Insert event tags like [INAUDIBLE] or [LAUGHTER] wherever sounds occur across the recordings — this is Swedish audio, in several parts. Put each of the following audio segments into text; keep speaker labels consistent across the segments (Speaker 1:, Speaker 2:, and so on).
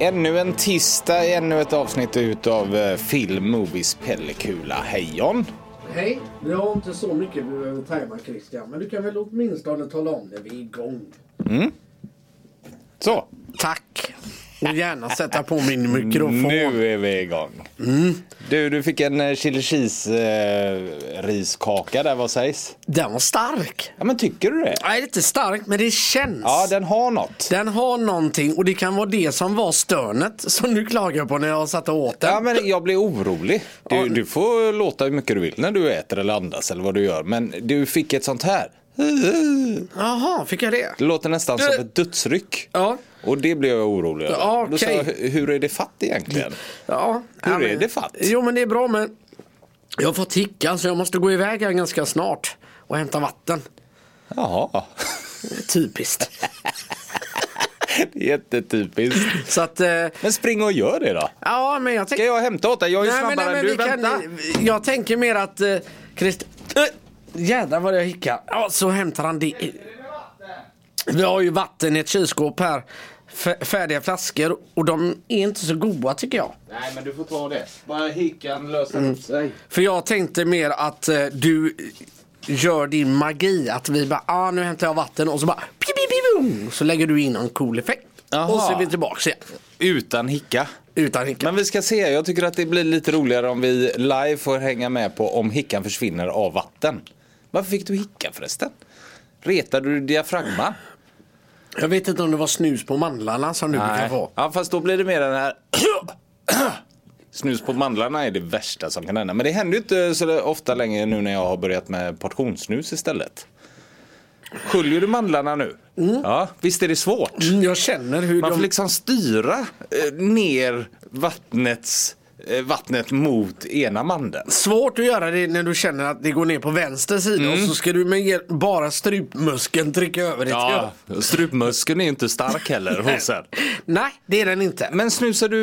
Speaker 1: Ännu en tisdag, ännu ett avsnitt utav eh, Film Movies Pellekula. Hej John!
Speaker 2: Hej! Vi har inte så mycket vi behöver tajma Christian, men du kan väl åtminstone tala om när vi är igång?
Speaker 1: Så,
Speaker 2: Tack! Och gärna sätta på min mikrofon.
Speaker 1: Mm, nu är vi igång. Du, du fick en eh, chili cheese eh, riskaka där, vad sägs?
Speaker 2: Den var stark!
Speaker 1: Ja men tycker du det?
Speaker 2: Nej, inte stark, men det känns.
Speaker 1: Ja, den har något.
Speaker 2: Den har någonting och det kan vara det som var störnet som du klagar på när jag satt och åt den.
Speaker 1: Ja men jag blir orolig. Du, du får låta hur mycket du vill när du äter eller andas eller vad du gör. Men du fick ett sånt här.
Speaker 2: Jaha, fick jag det?
Speaker 1: Det låter nästan som ett dödsryck.
Speaker 2: Ja.
Speaker 1: Och det blev jag orolig över.
Speaker 2: Ja,
Speaker 1: Då sa
Speaker 2: okej.
Speaker 1: jag, "Hur- hur är det fatt egentligen?
Speaker 2: Ja.
Speaker 1: Hur
Speaker 2: ja,
Speaker 1: är det fatt?
Speaker 2: Jo, men det är bra, men jag har fått hicka så jag måste gå iväg här ganska snart och hämta vatten.
Speaker 1: Jaha,
Speaker 2: Typiskt.
Speaker 1: jättetypiskt.
Speaker 2: så att, eh,
Speaker 1: Men spring och gör det då.
Speaker 2: ja, men jag tänker...
Speaker 1: Ska jag hämta åt dig? Jag är ju
Speaker 2: Nej, men,
Speaker 1: snabbare
Speaker 2: nej, men
Speaker 1: än du.
Speaker 2: vi kan,
Speaker 1: Vänta.
Speaker 2: jag tänker mer att eh, Christ... Äh, jädrar vad jag hickar. Ja, så hämtar han det. Vi har ju vatten i ett kylskåp här. Fä- färdiga flaskor och de är inte så goda tycker jag.
Speaker 1: Nej, men du får ta det. Bara hickan löser
Speaker 2: Mm.
Speaker 1: upp sig.
Speaker 2: För jag tänkte mer att eh, du gör din magi. Att vi bara, ah, nu hämtar jag vatten och så bara, pip, pip, pip, boom, så lägger du in en cool effekt.
Speaker 1: Jaha.
Speaker 2: Och så är vi tillbaka igen.
Speaker 1: Utan hicka.
Speaker 2: Utan hicka.
Speaker 1: Men vi ska se. Jag tycker att det blir lite roligare om vi live får hänga med på om hickan försvinner av vatten. Varför fick du hicka förresten? Retade du diafragman?
Speaker 2: Jag vet inte om det var snus på mandlarna som du brukar få.
Speaker 1: Ja, fast då blir det mer den här... [COUGHS] Snus på mandlarna är det värsta som kan hända. Men det händer ju inte så där ofta längre nu när jag har börjat med portionssnus istället. Sköljer du mandlarna nu? Ja, visst är det svårt?
Speaker 2: Mm, Jag känner hur
Speaker 1: Man
Speaker 2: de...
Speaker 1: får liksom styra eh, ner vattnets, eh, vattnet mot ena mandeln.
Speaker 2: Svårt att göra det när du känner att det går ner på vänster sida
Speaker 1: Mm.
Speaker 2: och så ska du med er- bara strupmuskeln trycka över det.
Speaker 1: Ja, strupmuskeln är ju inte stark heller hos er.
Speaker 2: Nej, det är den inte.
Speaker 1: Men snusar du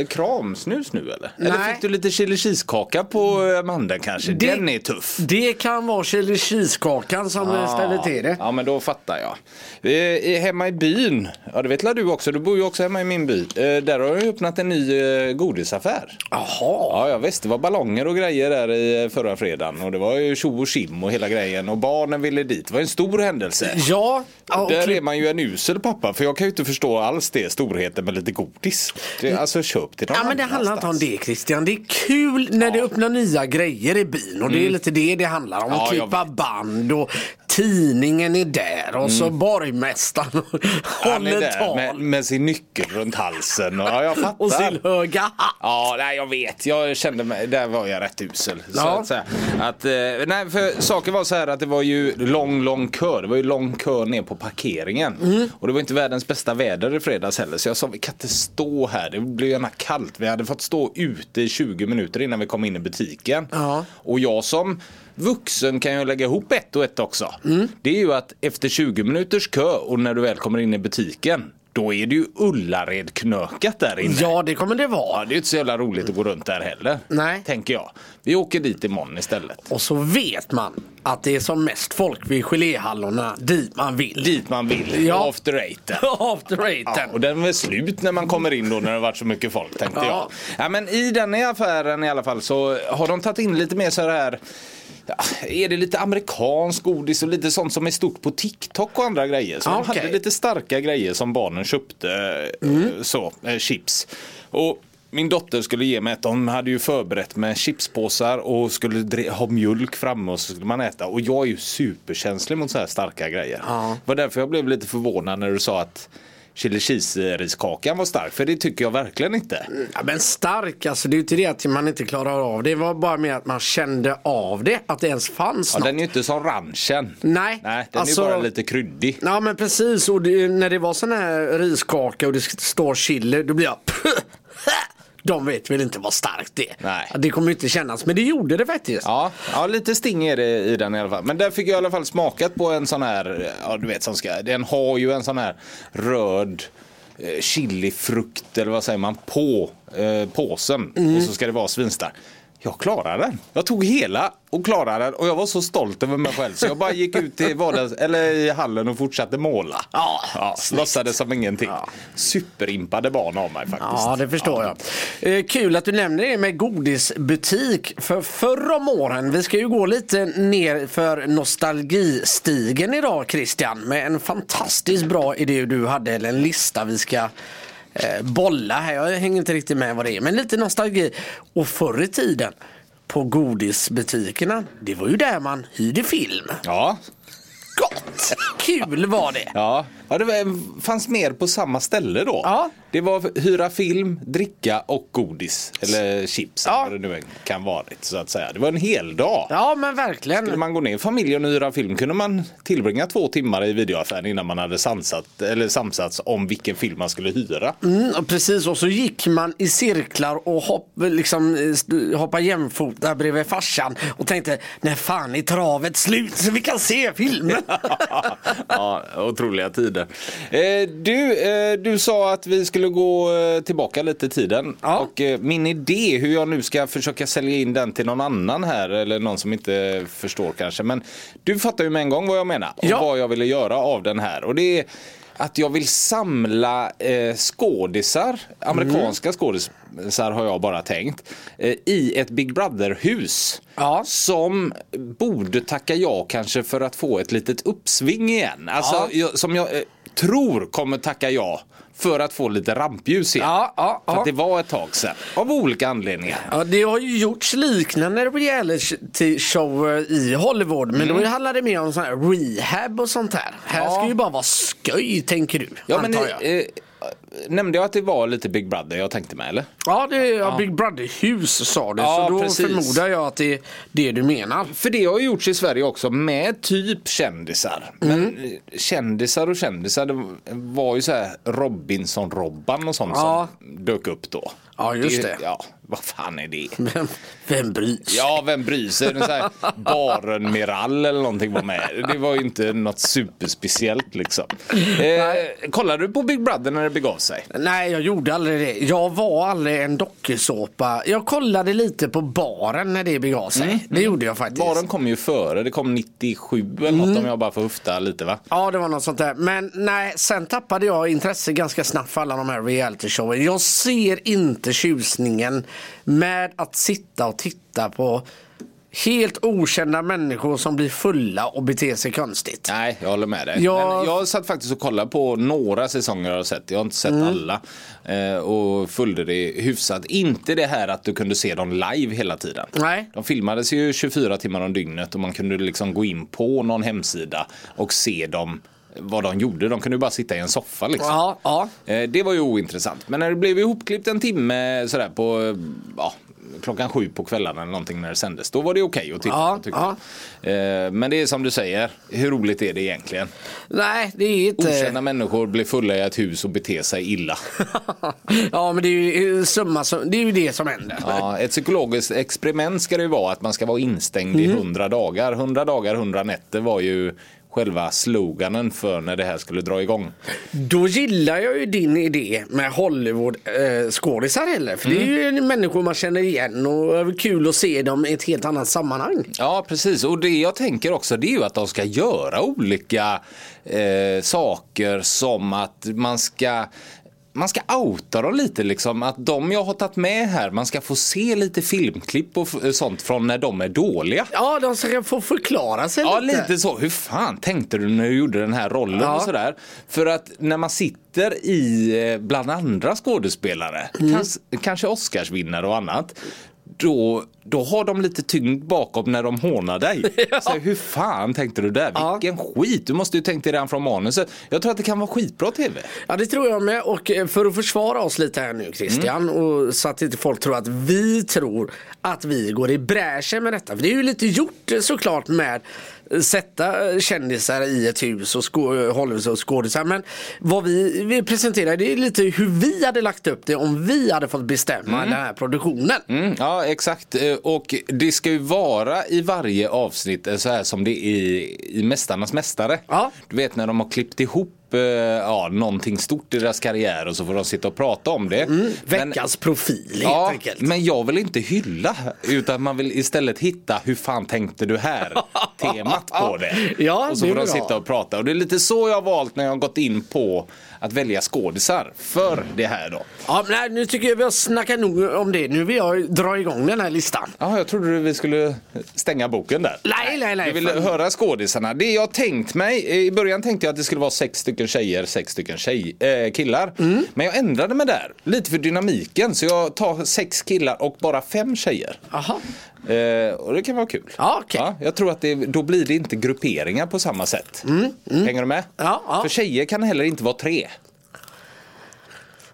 Speaker 1: eh, kramsnus nu eller? Eller
Speaker 2: Nej.
Speaker 1: fick du lite chili cheese-kaka på eh, mandeln kanske?
Speaker 2: Det-
Speaker 1: Den är tuff.
Speaker 2: Det kan vara chili cheese-kakan som eh,
Speaker 1: Ja.
Speaker 2: ställer till det.
Speaker 1: Ja men då fattar jag. Eh, i- hemma i byn, ja det vet väl du också, du bor ju också hemma i min by. Eh, där har jag öppnat en ny eh, godisaffär.
Speaker 2: Jaha.
Speaker 1: Ja, ja visst, det var ballonger och grejer där i eh, förra fredagen och det var ju tjo och tjim och hela grejen och barnen ville dit. Det var en stor händelse.
Speaker 2: Ja, ja och
Speaker 1: Där
Speaker 2: klipp-
Speaker 1: är man ju en usel pappa för jag kan ju inte förstå alls det storheten med lite godis. Det, alltså köp till någon
Speaker 2: Mm. Ja men det handlar inte om
Speaker 1: annanstans.
Speaker 2: det Christian. Det är kul när det öppnar nya grejer i byn och det är lite det det handlar om. Att
Speaker 1: Mm. Ja, jag
Speaker 2: klippa band och tidningen är där och så borgmästaren
Speaker 1: Mm.
Speaker 2: [LAUGHS]
Speaker 1: Han är
Speaker 2: håller
Speaker 1: där med,
Speaker 2: tal.
Speaker 1: med sin nyckel runt halsen. Och, ja, jag fattar.
Speaker 2: Och sin höga hatt.
Speaker 1: Ja, nej, jag vet. Jag kände mig, där var jag rätt usel. Så
Speaker 2: Ja.
Speaker 1: att, säga. att, eh, nej, för saken var så här att det var ju lång, lång kö. Det var ju lång kö ner på parkeringen.
Speaker 2: Mm.
Speaker 1: Och det var inte världens bästa väder i fredags heller. Så jag sa, vi kan inte stå här. Det blev gärna kallt. Vi hade fått stå ute i 20 minuter innan vi kom in i butiken.
Speaker 2: Ja.
Speaker 1: Och jag som vuxen kan ju lägga ihop ett och ett också.
Speaker 2: Mm.
Speaker 1: Det är ju att efter 20 minuters kö och när du väl kommer in i butiken. Då är det ju Ullared-knökat där inne.
Speaker 2: Ja det kommer det vara.
Speaker 1: Ja, det är ju inte så jävla roligt att gå runt där heller.
Speaker 2: Nej.
Speaker 1: Tänker jag. Vi åker dit imorgon istället.
Speaker 2: Och så vet man att det är som mest folk vid geléhallorna dit man vill. [LAUGHS]
Speaker 1: Dit man vill.
Speaker 2: Ja.
Speaker 1: After eight.
Speaker 2: After
Speaker 1: Ja,
Speaker 2: raten.
Speaker 1: och den var slut när man kommer in då när det har varit så mycket folk tänkte
Speaker 2: Ja.
Speaker 1: jag. Ja, men I den här affären i alla fall så har de tagit in lite mer så här ja, är det lite amerikansk godis och lite sånt som är stort på TikTok och andra grejer. Så
Speaker 2: Ah,
Speaker 1: de hade
Speaker 2: okej.
Speaker 1: lite starka grejer som barnen köpte, eh,
Speaker 2: Mm.
Speaker 1: så, eh, chips. Och min dotter skulle ge mig ett, de hade ju förberett med chipspåsar och skulle dre- ha mjölk framme och så skulle man äta. Och jag är ju superkänslig mot så här starka grejer.
Speaker 2: Ja.
Speaker 1: Det var därför jag blev lite förvånad när du sa att chili cheese-riskakan var stark, för det tycker jag verkligen inte.
Speaker 2: Ja, men stark alltså, det är ju inte det att man inte klarar av det. Det var bara mer att man kände av det, att det ens fanns
Speaker 1: Ja,
Speaker 2: något.
Speaker 1: den är ju inte som ranchen.
Speaker 2: Nej,
Speaker 1: Nej den
Speaker 2: alltså-
Speaker 1: är ju bara lite kryddig.
Speaker 2: Ja men precis, och det, när det var sån här riskaka och det står chili, då blir jag [LAUGHS] De vet väl inte vad starkt det är.
Speaker 1: Nej.
Speaker 2: Det kommer ju inte kännas, men det gjorde det faktiskt.
Speaker 1: Ja, ja, lite sting är det i den i alla fall. Men där fick jag i alla fall smakat på en sån här, ja du vet som ska, den har ju en sån här röd eh,
Speaker 2: Mm.
Speaker 1: chilifrukt eller vad säger man på eh, påsen. Och så ska det vara svinstark. jag klarade den. Jag tog hela och klarade den och jag var så stolt över mig själv så jag bara gick ut till vardags, eller i hallen och fortsatte måla.
Speaker 2: Ja, snyggt.
Speaker 1: låtsades som ingenting.
Speaker 2: Ja.
Speaker 1: Superimpade barn av mig faktiskt.
Speaker 2: Ja, det förstår jag. Eh, Kul att du nämner det med godisbutik. För förr om åren, vi ska ju gå lite ner för nostalgistigen idag Christian. Med en fantastiskt bra idé du hade, eller en lista vi ska eh, bolla här. Jag hänger inte riktigt med vad det är, men lite nostalgi. Och förr i tiden, på godisbutikerna, det var ju där man hyrde film.
Speaker 1: Ja.
Speaker 2: Gott! Kul var det.
Speaker 1: Ja, ja det var, fanns mer på samma ställe då.
Speaker 2: Ja.
Speaker 1: Det var hyra film, dricka och godis. Eller chips,
Speaker 2: Ja.
Speaker 1: eller vad det nu kan varit. Så att säga. Det var en hel dag.
Speaker 2: Ja, men verkligen.
Speaker 1: Skulle man gå ner i familjen och hyra film kunde man tillbringa två timmar i videoaffären innan man hade samsat, eller samsats om vilken film man skulle hyra.
Speaker 2: Mm, och precis, och så gick man i cirklar och hopp, liksom, eh, st- hoppade jämfota bredvid farsan och tänkte när fan är travet slut så vi kan se
Speaker 1: [LAUGHS]
Speaker 2: filmen.
Speaker 1: ja, otroliga tider. Eh, du, eh, du sa att vi skulle gå eh, tillbaka lite i tiden.
Speaker 2: Ja.
Speaker 1: Och eh, min idé hur jag nu ska försöka sälja in den till någon annan här eller någon som inte förstår kanske. Men du fattar ju med en gång vad jag menar och
Speaker 2: Ja.
Speaker 1: vad jag ville göra av den här. Och det är att jag vill samla eh, skådisar, amerikanska
Speaker 2: Mm.
Speaker 1: skådisar har jag bara tänkt, eh, i ett Big Brother-hus
Speaker 2: Ja.
Speaker 1: som borde tacka ja kanske för att få ett litet uppsving igen. Alltså,
Speaker 2: Ja.
Speaker 1: jag, som jag eh, tror kommer tacka ja för att få lite rampljus igen.
Speaker 2: Ja, ja,
Speaker 1: För
Speaker 2: ja.
Speaker 1: att det var ett tag sedan. Av olika anledningar.
Speaker 2: Ja, det har ju gjorts liknande reality-shower i Hollywood men då handlar det mer om sån här rehab och sånt här. Här
Speaker 1: Mm. Ja.
Speaker 2: ska ju bara vara sköj tänker du,
Speaker 1: Ja, men,
Speaker 2: antar jag.
Speaker 1: eh, eh, nämnde jag att det var lite Big Brother jag tänkte med eller?
Speaker 2: ja, det är ja. Big Brother-hus sa du
Speaker 1: Ja,
Speaker 2: så då
Speaker 1: precis.
Speaker 2: förmodar jag att det är det du menar.
Speaker 1: För det har ju gjorts i Sverige också med typ kändisar. Men
Speaker 2: Mm.
Speaker 1: eh, kändisar och kändisar, det var ju så här Robinson-Robban och sånt
Speaker 2: Ja.
Speaker 1: som dök upp då.
Speaker 2: Ja, just det.
Speaker 1: Ja, vad fan är det?
Speaker 2: Vem, vem bryr sig?
Speaker 1: Ja, vem bryr sig? Den så här Baren Mirall eller någonting var med. Det var ju inte något superspeciellt liksom. Eh, kollade du på Big Brother när det begav sig?
Speaker 2: Nej, jag gjorde aldrig det. Jag var aldrig en dokusåpa. Jag kollade lite på baren när det begav sig. Det gjorde jag faktiskt.
Speaker 1: Mm, Baren kom ju före, det kom 97 eller något
Speaker 2: Mm.
Speaker 1: om jag bara får höfta lite va?
Speaker 2: Ja, det var något sånt där. Men nej, sen tappade jag intresse ganska snabbt för alla de här realityshowen. Jag ser inte tjusningen med att sitta och titta på helt okända människor som blir fulla och beter sig konstigt.
Speaker 1: Nej, jag håller med dig.
Speaker 2: Jag-
Speaker 1: Men jag satt faktiskt och kollade på några säsonger jag har sett. Jag har inte sett alla. Eh, och följde det hyfsat. Inte det här att du kunde se dem live hela tiden.
Speaker 2: Nej.
Speaker 1: De filmades ju 24 timmar om dygnet och man kunde liksom gå in på någon hemsida och se dem vad de gjorde. De kunde ju bara sitta i en soffa liksom.
Speaker 2: Ja, ja.
Speaker 1: Eh, Det var ju ointressant. Men när det blev ihopklippt en timme sådär på eh, ja, klockan sju på kvällarna eller någonting när det sändes. Då var det okej att titta
Speaker 2: Ja,
Speaker 1: på tyckte jag. Eh, Men det är som du säger, hur roligt är det egentligen?
Speaker 2: Nej, det är inte...
Speaker 1: Okända människor blir fulla i ett hus och beter sig illa.
Speaker 2: [LAUGHS] ja, men det är ju eh, summa som... Det är ju det som händer.
Speaker 1: Ja, ett psykologiskt experiment ska det ju vara att man ska vara instängd i
Speaker 2: Mm.
Speaker 1: 100 dagar. 100 dagar, 100 nätter var ju själva sloganen för när det här skulle dra igång.
Speaker 2: Då gillar jag ju din idé med Hollywood-skådisar heller. För det är ju människor man känner igen och det är väl kul att se dem i ett helt annat sammanhang.
Speaker 1: Ja, precis. Och det jag tänker också det är ju att de ska göra olika eh, saker som att man ska man ska outa dem lite liksom. Att de jag har tagit med här, man ska få se lite filmklipp och f- sånt från när de är dåliga.
Speaker 2: Ja, de ska få förklara sig
Speaker 1: Ja,
Speaker 2: lite.
Speaker 1: lite så. Hur fan tänkte du när du gjorde den här rollen
Speaker 2: Ja.
Speaker 1: och sådär? För att när man sitter i eh, bland andra skådespelare,
Speaker 2: Mm.
Speaker 1: kans, kanske Oscarsvinnare och annat, då, då har de lite tyngd bakom när de hånar
Speaker 2: [LAUGHS]
Speaker 1: dig. Så, hur fan tänkte du där?
Speaker 2: Ja.
Speaker 1: Vilken skit! Du måste ju tänkt dig redan från manuset. Jag tror att det kan vara skitbra TV.
Speaker 2: Ja, det tror jag med. Och eh, för att försvara oss lite här nu Christian,
Speaker 1: Mm.
Speaker 2: och så att inte folk tror att vi tror att vi går i bräschen med detta. För det är ju lite gjort eh, såklart med eh, sätta eh, kändisar i ett hus och sko- eh, Hollywood- och skådisar. Men vad vi, vi presenterar det är lite hur vi hade lagt upp det om vi hade fått bestämma den här produktionen.
Speaker 1: Mm, ja, exakt. Eh, Och det ska ju vara i varje avsnitt eh, så här som det är i Mästarnas Mästare.
Speaker 2: Ja.
Speaker 1: Du vet när de har klippt ihop upp eh, ja, någonting stort i deras karriär och så får de sitta och prata om det. Men-
Speaker 2: Veckans profil Mm, helt
Speaker 1: Ja,
Speaker 2: enkelt.
Speaker 1: men jag vill inte hylla utan man vill istället hitta hur fan tänkte du
Speaker 2: [LAUGHS]
Speaker 1: här? Temat på det.
Speaker 2: Ja,
Speaker 1: och så
Speaker 2: det är
Speaker 1: får de
Speaker 2: bra.
Speaker 1: sitta och prata och det är lite så jag har valt när jag har gått in på att välja skådisar för det här då.
Speaker 2: Ja, men nej, nu tycker jag vi har snackat nog om det. Nu vill jag dra igång den här listan.
Speaker 1: Ja, jag trodde du vi skulle stänga boken där.
Speaker 2: Nej, nej, nej.
Speaker 1: Jag vill
Speaker 2: fan.
Speaker 1: höra skådisarna. Det jag tänkt mig, i början tänkte jag att det skulle vara sex stycken tjejer, sex stycken tjej, eh, killar.
Speaker 2: Mm.
Speaker 1: Men jag ändrade mig där, lite för dynamiken. Så jag tar sex killar och bara fem tjejer.
Speaker 2: Jaha.
Speaker 1: Eh, och det kan vara kul.
Speaker 2: Ja, okej.
Speaker 1: jag tror att det, då blir det inte grupperingar på samma sätt. Hänger du med?
Speaker 2: Mm, Ja, ja.
Speaker 1: För tjejer kan heller inte vara tre.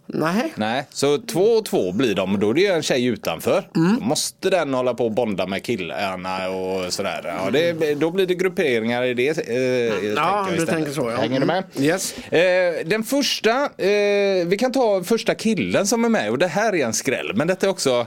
Speaker 2: Nej.
Speaker 1: Nej, så två och två blir de och då är det ju en tjej utanför.
Speaker 2: Mm.
Speaker 1: Då måste den hålla på och bonda med killarna och sådär. Ja, det, då blir det grupperingar i det. Eh,
Speaker 2: Ja, du
Speaker 1: istället.
Speaker 2: tänker så, ja.
Speaker 1: Hänger du med?
Speaker 2: Mm. Yes.
Speaker 1: Eh, den första, eh, vi kan ta första killen som är med och det här är en skräll. Men detta är också,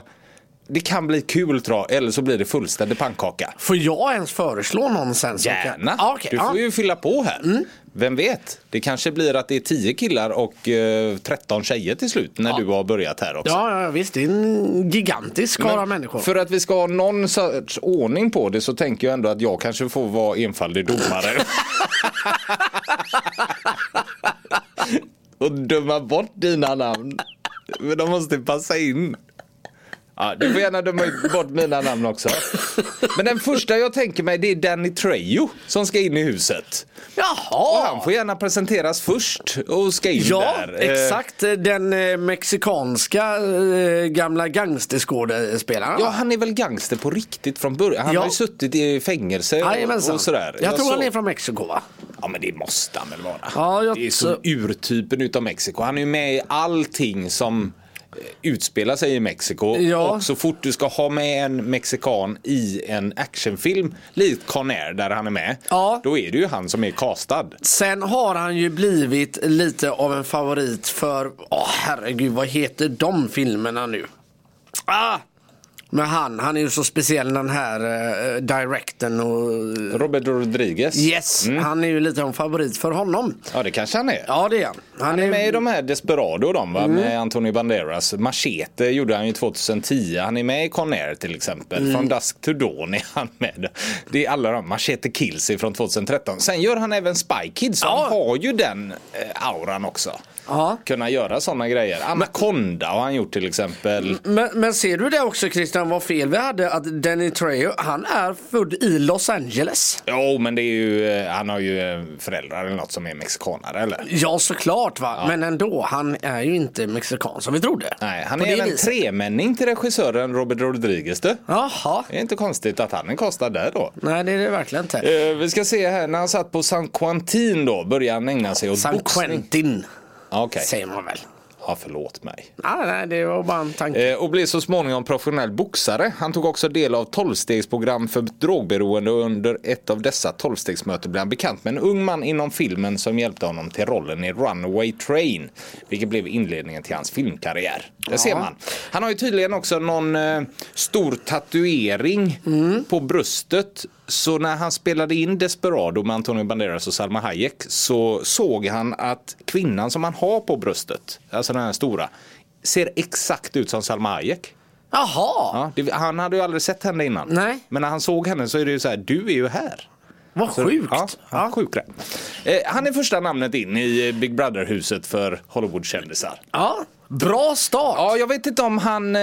Speaker 1: det kan bli kul tror jag, eller så blir det fullständig pannkaka.
Speaker 2: Får jag ens föreslå någon sen? som
Speaker 1: Gärna!
Speaker 2: Kan... Ja, Ah, okej, Mm.
Speaker 1: du
Speaker 2: ja.
Speaker 1: får ju fylla på här. Vem vet, det kanske blir att det är 10 killar och eh, 13 tjejer till slut när du har börjat här också.
Speaker 2: Ja, ja, visst. Det är en gigantisk skara människor.
Speaker 1: För att vi ska ha någon sorts ordning på det så tänker jag ändå att jag kanske får vara enfaldig domare. [LAUGHS] Och döma bort dina namn. Men de måste passa in. Ja, du får gärna döma ut- bort mina namn också. Men den första jag tänker mig det är Danny Trejo som ska in i huset. Och
Speaker 2: Jaha!
Speaker 1: han får gärna presenteras först och ska in
Speaker 2: Ja,
Speaker 1: där. Eh,
Speaker 2: exakt. Den eh, mexikanska eh, gamla gangsterskådespelaren.
Speaker 1: Ja, han är väl gangster på riktigt från början. Han
Speaker 2: Ja.
Speaker 1: har ju suttit i fängelse och,
Speaker 2: Jajamensan.
Speaker 1: och sådär.
Speaker 2: Jag tror
Speaker 1: såg-
Speaker 2: han är från Mexiko va?
Speaker 1: Ja, men det måste han väl vara.
Speaker 2: Ja, jag-
Speaker 1: Det är så urtypen utav Mexiko. Han är ju med i allting som eh, utspelar sig i Mexiko.
Speaker 2: Ja.
Speaker 1: Och så fort du ska ha med en mexikan i en actionfilm, likt Con Air där han är med,
Speaker 2: Ja.
Speaker 1: då är det ju han som är castad.
Speaker 2: Sen har han ju blivit lite av en favorit för, åh herregud vad heter de filmerna nu? Ah! Men han, han är ju så speciell den här eh, directen och
Speaker 1: Robert Rodriguez.
Speaker 2: yes, han är ju lite av en favorit för honom.
Speaker 1: Mm. Ja, det kanske han är.
Speaker 2: Ja det är han. Han,
Speaker 1: Han är med i de här Desperado de,
Speaker 2: Mm.
Speaker 1: va? med Antonio Banderas. Machete gjorde han ju 2010. Han är med i Con Air till exempel.
Speaker 2: Mm.
Speaker 1: Från Dusk to Dawn är han med. Det är alla de. Machete Kills är från 2013. Sen gör han även Spy Kids. så
Speaker 2: Ja.
Speaker 1: Han har ju den eh, auran också.
Speaker 2: Ja.
Speaker 1: Kunna göra sådana grejer. Anaconda har han gjort till exempel.
Speaker 2: Men, men ser du det också Christian, vad fel vi hade att Danny Trejo, han är född i Los Angeles.
Speaker 1: Jo, men det är ju, eh, han har ju eh, föräldrar eller något som är mexikanare eller?
Speaker 2: Ja såklart va, men ändå, han är ju inte mexikan som vi trodde.
Speaker 1: Nej, han
Speaker 2: På det
Speaker 1: är en
Speaker 2: viset.
Speaker 1: tremänning till regissören Robert Rodriguez du.
Speaker 2: Jaha,
Speaker 1: Det är inte konstigt att han är kostad där då.
Speaker 2: nej det är det verkligen inte.
Speaker 1: Eh, vi ska se här, när han satt på San Quentin då började han ägna sig åt
Speaker 2: San
Speaker 1: boxning.
Speaker 2: Quentin
Speaker 1: Ja, Okej,
Speaker 2: säger man väl?
Speaker 1: ja, förlåt mig.
Speaker 2: Nej, nej, det var bara en tanke.
Speaker 1: Eh, och blev så småningom professionell boxare. Han tog också del av 12-stegsprogram för drogberoende och under ett av dessa 12-stegsmöten blev han bekant med en ung man inom filmen som hjälpte honom till rollen i Runaway Train. Vilket blev inledningen till hans filmkarriär. Det ser man. Han har ju tydligen också någon eh, stor tatuering på bröstet. Så när han spelade in Desperado med Antonio Banderas och Salma Hayek så såg han att kvinnan som han har på bröstet, alltså den här stora, ser exakt ut som Salma Hayek.
Speaker 2: Jaha,
Speaker 1: Ja, det, han hade ju aldrig sett henne innan.
Speaker 2: Nej.
Speaker 1: Men när han såg henne så är det ju så här, du är ju här.
Speaker 2: vad
Speaker 1: Så-
Speaker 2: sjukt.
Speaker 1: Ja,
Speaker 2: Ja.
Speaker 1: Sjuk grej. eh, han är första namnet in i eh, Big Brother-huset för Hollywood-kändisar.
Speaker 2: Ja, Bra start.
Speaker 1: Ja, jag vet inte om han eh,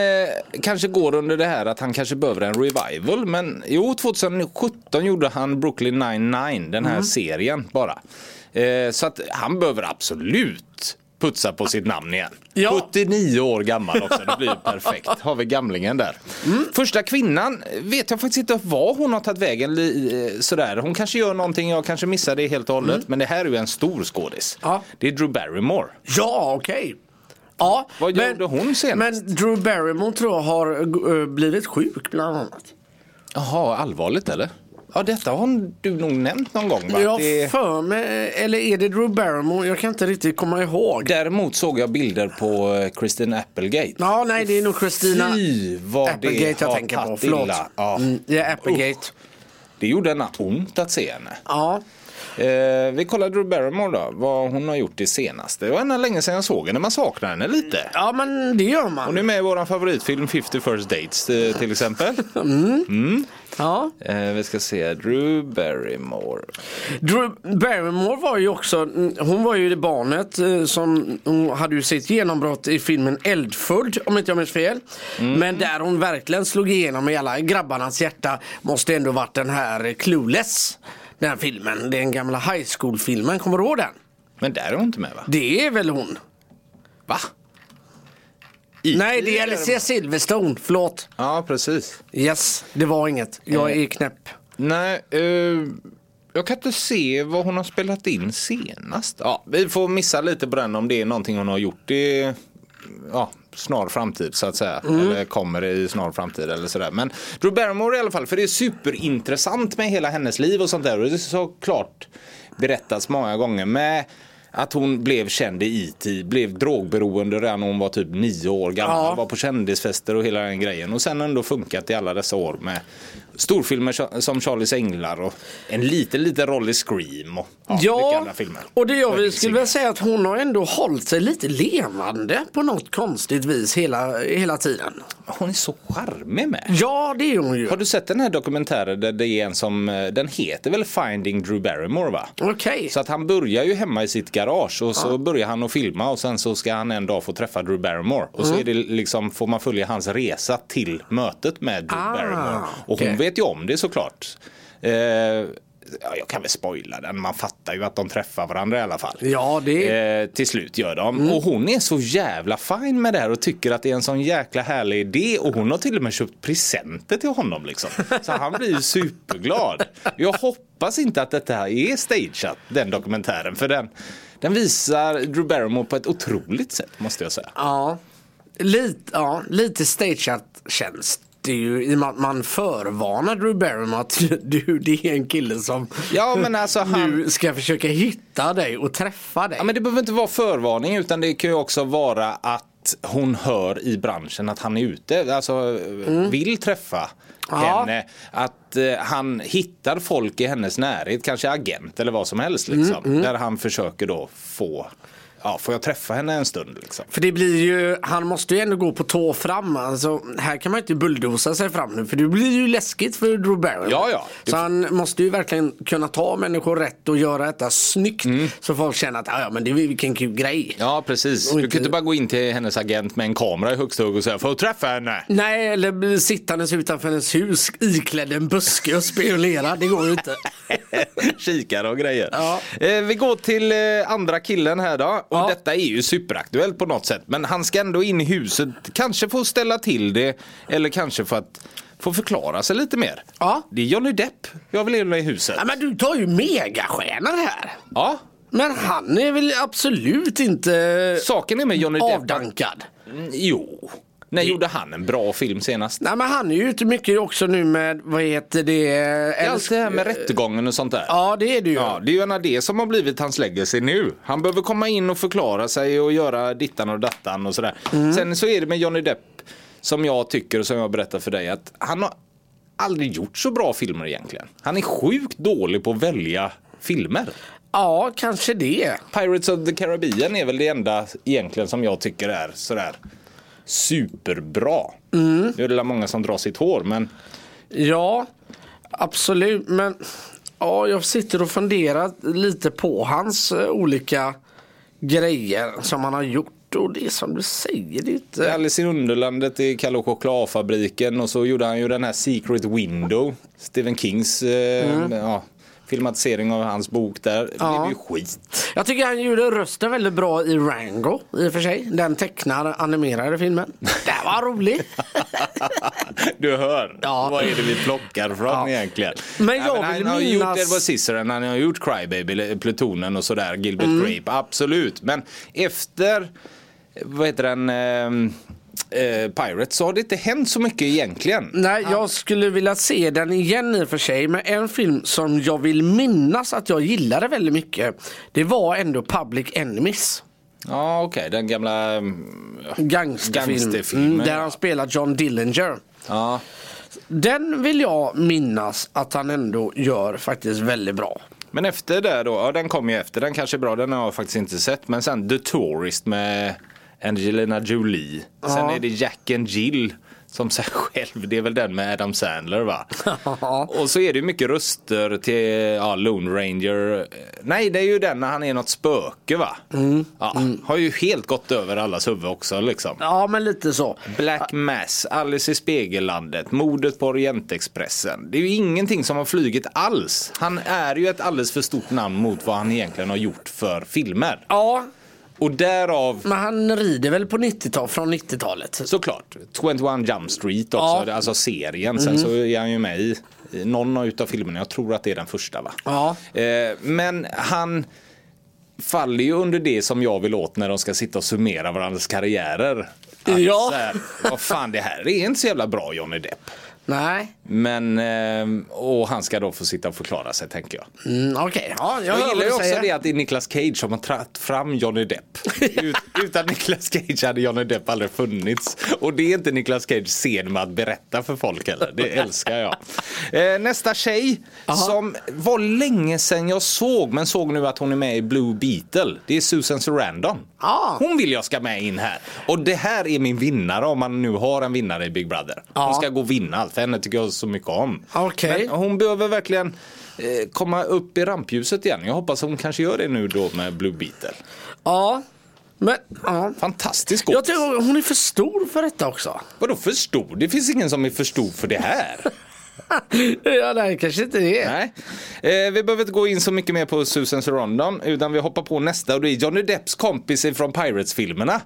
Speaker 1: kanske går under det här att han kanske behöver en revival. Men jo, 2017 gjorde han Brooklyn 99, den här
Speaker 2: Mm.
Speaker 1: serien bara. Eh, så att han behöver absolut putsa på sitt namn igen.
Speaker 2: Ja.
Speaker 1: 79 år gammal också, det blir ju perfekt. Har vi gamlingen där.
Speaker 2: Mm.
Speaker 1: Första kvinnan eh, vet jag faktiskt inte var hon har tagit vägen. li- eh, Sådär. Hon kanske gör någonting, jag kanske missar det helt och hållet. Men det här är ju en stor skådis.
Speaker 2: Mm. Ja.
Speaker 1: Det är Drew Barrymore.
Speaker 2: Ja, okej. Ja,
Speaker 1: Vad gjorde hon senast?
Speaker 2: Men Drew Barrymore tror jag har eh, blivit sjuk bland annat.
Speaker 1: Jaha, allvarligt eller? Ja, detta har du nog nämnt någon gång va?
Speaker 2: Jag har
Speaker 1: Att det...
Speaker 2: för mig, eller är det Drew Barrymore? Jag kan inte riktigt komma ihåg.
Speaker 1: Däremot såg jag bilder på eh, Christine Applegate.
Speaker 2: Ja, nej, det är nog Christina
Speaker 1: Fy vad
Speaker 2: Applegate
Speaker 1: det
Speaker 2: jag
Speaker 1: har
Speaker 2: tänker på.
Speaker 1: tagit
Speaker 2: Förlåt.
Speaker 1: illa. Ja.
Speaker 2: Mm, det är Applegate.
Speaker 1: Det gjorde en ont att se henne.
Speaker 2: Ja.
Speaker 1: Eh, vi kollar Drew Barrymore då, vad hon har gjort det senaste. Det var ändå länge sedan jag såg henne, man saknar henne lite.
Speaker 2: Ja, men det gör man.
Speaker 1: Hon är med i vår favoritfilm 50 First Dates eh, till
Speaker 2: [LAUGHS]
Speaker 1: exempel.
Speaker 2: Ja.
Speaker 1: Eh, vi ska se, Drew Barrymore.
Speaker 2: Drew Barrymore var ju också, mm, hon var ju det barnet eh, som hon hade ju sitt genombrott i filmen Eldfödd om inte jag minns fel. Men där hon verkligen slog igenom i alla grabbarnas hjärta måste ändå varit den här eh, Clueless. Den här filmen, den gamla high school filmen, kommer du ihåg den?
Speaker 1: Men där är hon inte med va?
Speaker 2: Det är väl hon?
Speaker 1: Va?
Speaker 2: Nej det är Alicia Silverstone, förlåt.
Speaker 1: Ja, precis.
Speaker 2: Yes, det var inget. Jag är knäpp.
Speaker 1: Nej, eh, jag kan inte se vad hon har spelat in senast. Ja, vi får missa lite på den om det är någonting hon har gjort i ja, snar framtid så att säga. Eller kommer i snar framtid eller sådär. Men Drew Barrymore i alla fall, för det är superintressant med hela hennes liv och sånt där. Och det är såklart berättats många gånger med att hon blev känd i IT, blev drogberoende redan när hon var typ nio år gammal.
Speaker 2: Ja.
Speaker 1: Var var på kändisfester och hela den grejen och sen ändå funkat i alla dessa år med storfilmer tja- som Charlies änglar och en liten, liten roll i Scream och ja, mycket andra filmer.
Speaker 2: och det jag vill,
Speaker 1: Väldigt
Speaker 2: skulle vilja säga att hon har ändå hållit sig lite levande på något konstigt vis hela, hela tiden.
Speaker 1: Hon är så charmig med.
Speaker 2: Ja, det är hon ju.
Speaker 1: Har du sett den här dokumentären där det är en som, eh, den heter väl Finding Drew Barrymore va?
Speaker 2: Okej.
Speaker 1: Så att han börjar ju hemma i sitt garage och så börjar han att filma och sen så ska han en dag få träffa Drew Barrymore. Och
Speaker 2: Mm.
Speaker 1: så är det liksom, får man följa hans resa till mötet med Drew
Speaker 2: Ah,
Speaker 1: Barrymore. Och
Speaker 2: okej.
Speaker 1: hon vet ju om det såklart. Eh, ja, jag kan väl spoila den, man fattar ju att de träffar varandra i alla fall.
Speaker 2: Ja, det är...
Speaker 1: Eh, till slut gör de. Och hon är så jävla fin med det här och tycker att det är en sån jäkla härlig idé. Och hon har till och med köpt presenter till honom liksom. Så han blir ju superglad. Jag hoppas inte att detta här är stageat, den dokumentären. För den, den visar Drew Barrymore på ett otroligt sätt måste jag säga.
Speaker 2: Ja. Lite, ja, lite stageat känns det ju i och med att man förvarnar Drew Barrymore att du, det är en kille som
Speaker 1: Ja men alltså han...
Speaker 2: nu ska försöka hitta dig och träffa dig.
Speaker 1: Ja, men det behöver inte vara förvarning utan det kan ju också vara att hon hör i branschen att han är ute, alltså eh, vill träffa
Speaker 2: Ja.
Speaker 1: henne. Att eh, han hittar folk i hennes närhet, kanske agent eller vad som helst. Liksom, Där han försöker då få, ja får jag träffa henne en stund liksom.
Speaker 2: För det blir ju, han måste ju ändå gå på tå fram. Alltså, här kan man ju inte bulldoza sig fram nu för det blir ju läskigt för Drew Barrymore.
Speaker 1: Ja, ja.
Speaker 2: Så han måste ju verkligen kunna ta människor rätt och göra detta snyggt.
Speaker 1: Mm.
Speaker 2: Så folk känner att, "Ja, ja men det är ju vilken kul grej.
Speaker 1: Ja precis,
Speaker 2: Och
Speaker 1: du
Speaker 2: inte-
Speaker 1: kan inte bara gå in till hennes agent med en kamera i högsta hugg och säga får jag träffa henne?
Speaker 2: Nej, eller bli sittandes utanför hennes hus iklädd en buske och spionera. Det går
Speaker 1: [LAUGHS]
Speaker 2: ju inte.
Speaker 1: Kikare och grejer.
Speaker 2: Ja.
Speaker 1: Eh, vi går till eh, andra killen här då. Och
Speaker 2: Ja.
Speaker 1: Detta är ju superaktuellt på något sätt. Men han ska ändå in i huset. Kanske få ställa till det. Eller kanske för att få förklara sig lite mer.
Speaker 2: Ja.
Speaker 1: Det är Johnny Depp. Jag vill in i huset.
Speaker 2: Ja, men du tar ju megastjärnor här.
Speaker 1: Ja.
Speaker 2: Men han är väl absolut inte
Speaker 1: Saken är med Johnny Depp. att-
Speaker 2: avdankad.
Speaker 1: Mm, Jo. När gjorde han en bra film senast?
Speaker 2: Nej men han är ju ute mycket också nu med, vad heter det? eh,
Speaker 1: Det är allt det här med rättegången och sånt där.
Speaker 2: Ja det är det ju.
Speaker 1: Ja, det är ju gärna det som har blivit hans legacy nu. Han behöver komma in och förklara sig och göra dittan och dattan och sådär. Sen så är det med Johnny Depp som jag tycker och som jag berättar för dig att han har aldrig gjort så bra filmer egentligen. Han är sjukt dålig på att välja filmer.
Speaker 2: Ja, kanske det.
Speaker 1: Pirates of the Caribbean är väl det enda egentligen som jag tycker är sådär superbra. Nu är det väl många som drar sitt hår men
Speaker 2: Ja, absolut. Men ja, jag sitter och funderar lite på hans eh, olika grejer som han har gjort. Och det är som du säger, det
Speaker 1: I
Speaker 2: är inte...
Speaker 1: Alice i Underlandet i Kalle och chokladfabriken och så gjorde han ju den här Secret Window. Stephen Kings eh, ja, filmatisering av hans bok där. Det
Speaker 2: Mm. Ja.
Speaker 1: blev ju skit. [LAUGHS]
Speaker 2: Jag tycker han gjorde rösten väldigt bra i Rango i och för sig. Den tecknade, animerade filmen. Det var rolig.
Speaker 1: Du hör,
Speaker 2: Ja.
Speaker 1: vad är det vi plockar från egentligen?
Speaker 2: Men
Speaker 1: Ja,
Speaker 2: jag
Speaker 1: han
Speaker 2: vill
Speaker 1: har ju
Speaker 2: minnas-
Speaker 1: gjort Edward Scissorhands, han har gjort Crybaby, eller Plutonen och sådär, Gilbert
Speaker 2: Mm.
Speaker 1: Grape, absolut. Men efter, vad heter den, eh, eh, Pirates så har det inte hänt så mycket egentligen.
Speaker 2: Nej, jag skulle vilja se den igen i och för sig. Men en film som jag vill minnas att jag gillade väldigt mycket. Det var ändå Public Enemies.
Speaker 1: Ja okej, den gamla... mm,
Speaker 2: Gangsterfilm.
Speaker 1: Gangsterfilmen,
Speaker 2: mm, där
Speaker 1: ja.
Speaker 2: han spelar John Dillinger.
Speaker 1: Ja. [LAUGHS]
Speaker 2: Den vill jag minnas att han ändå gör faktiskt väldigt bra.
Speaker 1: Men efter det då, ja den kom ju efter, den kanske är bra, den har jag faktiskt inte sett. Men sen The Tourist med Angelina Jolie. Sen är det Jack and Jill som sig själv, det är väl den med Adam Sandler va?
Speaker 2: Ja.
Speaker 1: Och så är det ju mycket röster till ja, Lone Ranger. Nej det är ju den när han är något spöke va? Ja, Har ju helt gått över allas huvud också liksom.
Speaker 2: Ja, men lite så.
Speaker 1: Black
Speaker 2: Ah.
Speaker 1: Mass, Alice i Spegellandet, mordet på Orientexpressen. Det är ju ingenting som har flugit alls. Han är ju ett alldeles för stort namn mot vad han egentligen har gjort för filmer.
Speaker 2: Ja,
Speaker 1: Och därav
Speaker 2: men han rider väl på 90-tal, från 90-talet.
Speaker 1: såklart 21 Jump Street också,
Speaker 2: Ja. Mhm.
Speaker 1: alltså serien. Sen så är han ju med i i någon av utav filmerna, jag tror att det är den första va?
Speaker 2: Ja.
Speaker 1: Eh, Men han faller ju under det som jag vill åt när de ska sitta och summera varandras karriärer. Att
Speaker 2: Ja.
Speaker 1: så här, Vad fan det här är inte så jävla bra Johnny Depp.
Speaker 2: Nej,
Speaker 1: Men, eh, och han ska då få sitta och förklara sig tänker jag.
Speaker 2: mm, okej. Ja, jag,
Speaker 1: Jag,
Speaker 2: hör vad
Speaker 1: gillar
Speaker 2: du
Speaker 1: ju också
Speaker 2: säger.
Speaker 1: det att det är Nicolas Cage som har tagit fram Johnny
Speaker 2: [LAUGHS]
Speaker 1: Depp. Ut, utan Nicolas Cage hade Johnny Depp aldrig funnits. Och det är inte Nicolas Cage sen med att berätta för folk heller. Det älskar jag.
Speaker 2: [LAUGHS]
Speaker 1: Eh, nästa tjej som var länge sedan jag såg men såg nu att hon är med i Blue Beetle. Det är Susan Sarandon.
Speaker 2: Ah.
Speaker 1: Hon vill jag ska med in här. Och det här är min vinnare om man nu har en vinnare i Big Brother.
Speaker 2: Ja.
Speaker 1: Hon ska gå och vinna allt för henne tycker jag så mycket om.
Speaker 2: Okej.
Speaker 1: Men hon behöver verkligen eh, komma upp i rampljuset igen. Jag hoppas hon kanske gör det nu då med Blue Beetle.
Speaker 2: Ja, men ja.
Speaker 1: Fantastisk
Speaker 2: Jag
Speaker 1: jag
Speaker 2: tycker hon är för stor för detta också.
Speaker 1: Vadå för stor? Det finns ingen som är för stor för det
Speaker 2: [LAUGHS]
Speaker 1: här.
Speaker 2: ja, nej, kanske inte det.
Speaker 1: Nej. Eh, vi behöver inte gå in så mycket mer på Susan Sarandon utan vi hoppar på nästa och det är Johnny Depps kompis från Pirates-filmerna.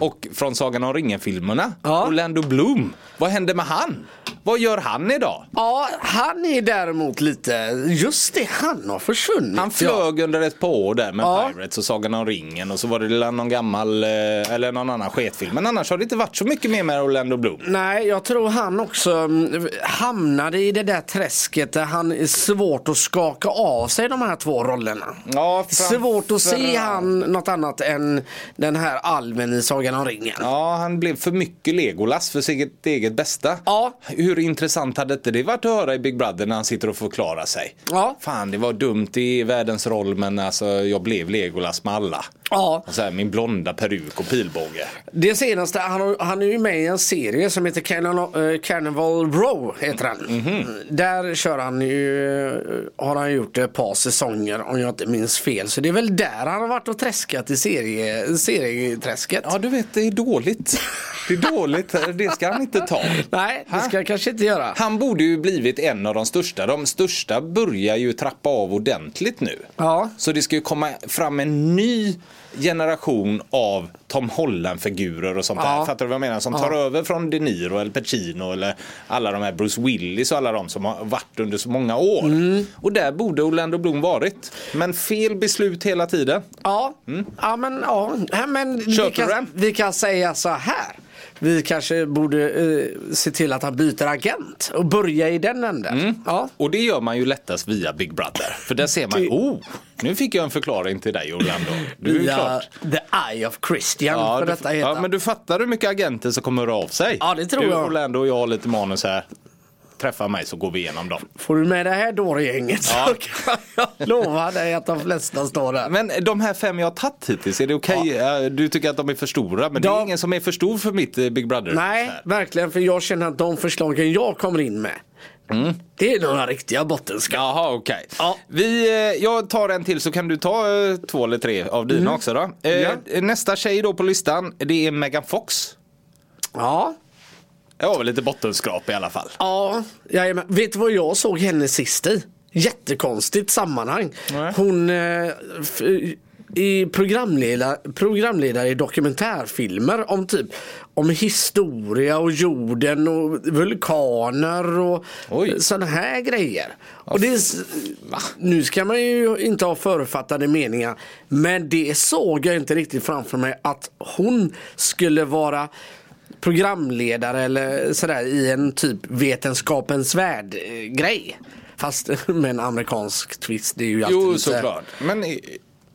Speaker 1: Och från Sagan om ringen-filmerna.
Speaker 2: Ja.
Speaker 1: Orlando Bloom. Vad hände med han? Vad gör han idag?
Speaker 2: Ja, han är däremot lite... Just det, han har försvunnit.
Speaker 1: Han flög under ett par år där med
Speaker 2: Ja.
Speaker 1: Pirates och Sagan om ringen och så var det lilla någon gammal eh, eller någon annan sketfilm. Men annars har det inte varit så mycket mer med Orlando Bloom.
Speaker 2: Nej, jag tror han också mm, hamnade i det där träsket där han är svårt att skaka av sig de här två rollerna.
Speaker 1: Ja,
Speaker 2: svårt att se
Speaker 1: framförallt.
Speaker 2: han något annat än den här alven i Sagan om ringen.
Speaker 1: Ja, han blev för mycket Legolas för sitt eget bästa.
Speaker 2: Ja.
Speaker 1: Hur intressant hade inte det varit att höra i Big Brother när han sitter och förklarar sig?
Speaker 2: Ja.
Speaker 1: Fan, det var dumt i världens roll men alltså jag blev Legolas med alla.
Speaker 2: Ja.
Speaker 1: Och Så här, min blonda peruk och pilbåge.
Speaker 2: Det senaste, han, har- han är ju med i en serie som heter Carnival, eh, Carnival Row. Heter han.
Speaker 1: Mhm.
Speaker 2: Där kör han ju, eh, har han gjort ett par säsonger om jag inte minns fel. Så det är väl där han har varit och träskat i serie, serieträsket.
Speaker 1: Ja, du vet det är dåligt. Det är dåligt, det ska han inte ta.
Speaker 2: Nej, det ska jag kanske inte göra.
Speaker 1: Han borde ju blivit en av de största. De största börjar ju trappa av ordentligt nu.
Speaker 2: Ja.
Speaker 1: Så det ska ju komma fram en ny generation av Tom Holland-figurer och sånt
Speaker 2: Ja.
Speaker 1: där. Fattar du vad jag menar? Som tar över från De Niro eller Pacino eller alla de här Bruce Willis och alla de som har varit under så många år.
Speaker 2: Mm.
Speaker 1: Och där borde Orlando Bloom varit. Men fel beslut hela tiden.
Speaker 2: Ja, ja men, ja. Ja, men vi,
Speaker 1: Mm. Köper du
Speaker 2: kan,
Speaker 1: den?
Speaker 2: vi kan säga så här. Vi kanske borde eh, se till att han byter agent och börja i den änden.
Speaker 1: Mm.
Speaker 2: Ja.
Speaker 1: Och det gör man ju lättast via Big Brother. För där ser man, oh, nu fick jag en förklaring till dig Orlando. Du är ju
Speaker 2: Via
Speaker 1: klart.
Speaker 2: The Eye of Christian för
Speaker 1: du-
Speaker 2: detta heter
Speaker 1: ja, men du fattar hur mycket agenter som kommer höra av sig?
Speaker 2: Ja, det tror
Speaker 1: du,
Speaker 2: jag.
Speaker 1: Orlando och jag har lite manus här. Träffa mig så går vi igenom dem.
Speaker 2: Får du med det här dåregänget så [LAUGHS] kan jag lova dig att de flesta står där.
Speaker 1: Men de här fem jag har tagit hittills, är det okej? Eh, Du tycker att de är för stora, men det
Speaker 2: De-
Speaker 1: är ingen som är för stor för mitt eh, Big Brother.
Speaker 2: Nej,
Speaker 1: Här.
Speaker 2: verkligen för jag känner att de förslagen jag kommer in med
Speaker 1: Mm.
Speaker 2: Det är några riktiga bottenskrap.
Speaker 1: Jaha, okej.
Speaker 2: Ja.
Speaker 1: Vi, eh, Jag tar en till så kan du ta eh, två eller tre av dina
Speaker 2: Mm.
Speaker 1: också då. Eh, Nästa tjej då på listan, det är Megan Fox.
Speaker 2: Ja.
Speaker 1: Jag har väl lite bottenskrap i alla fall.
Speaker 2: Ja, jajamän. vet du vad jag såg henne sist i? Jättekonstigt sammanhang.
Speaker 1: Nej.
Speaker 2: Hon eh, f- är programledare, programledare i dokumentärfilmer om typ om historia och jorden och vulkaner och
Speaker 1: Oj.
Speaker 2: sådana här grejer. Och det är, s- nu ska man ju inte ha författade meningar men det såg jag inte riktigt framför mig att hon skulle vara programledare eller sådär i en typ Vetenskapens värld eh, [LAUGHS] grej. Fast med en amerikansk twist. Det är ju alltid
Speaker 1: Jo,
Speaker 2: lite-
Speaker 1: såklart. Men eh,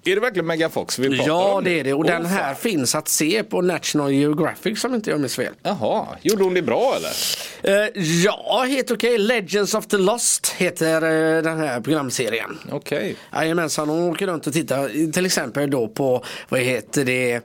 Speaker 1: Är det verkligen Megafox vi pratar om?
Speaker 2: Ja,
Speaker 1: nu?
Speaker 2: det är det. Och
Speaker 1: Åh,
Speaker 2: den här
Speaker 1: fan.
Speaker 2: finns att se på National Geographic som inte jag minns fel.
Speaker 1: Jaha, gjorde hon det bra eller?
Speaker 2: Eh, ja, helt okej. Legends of the Lost heter eh, den här programserien.
Speaker 1: Okej.
Speaker 2: Jajamensan, hon åker runt och tittar till exempel då på, vad heter det, eh,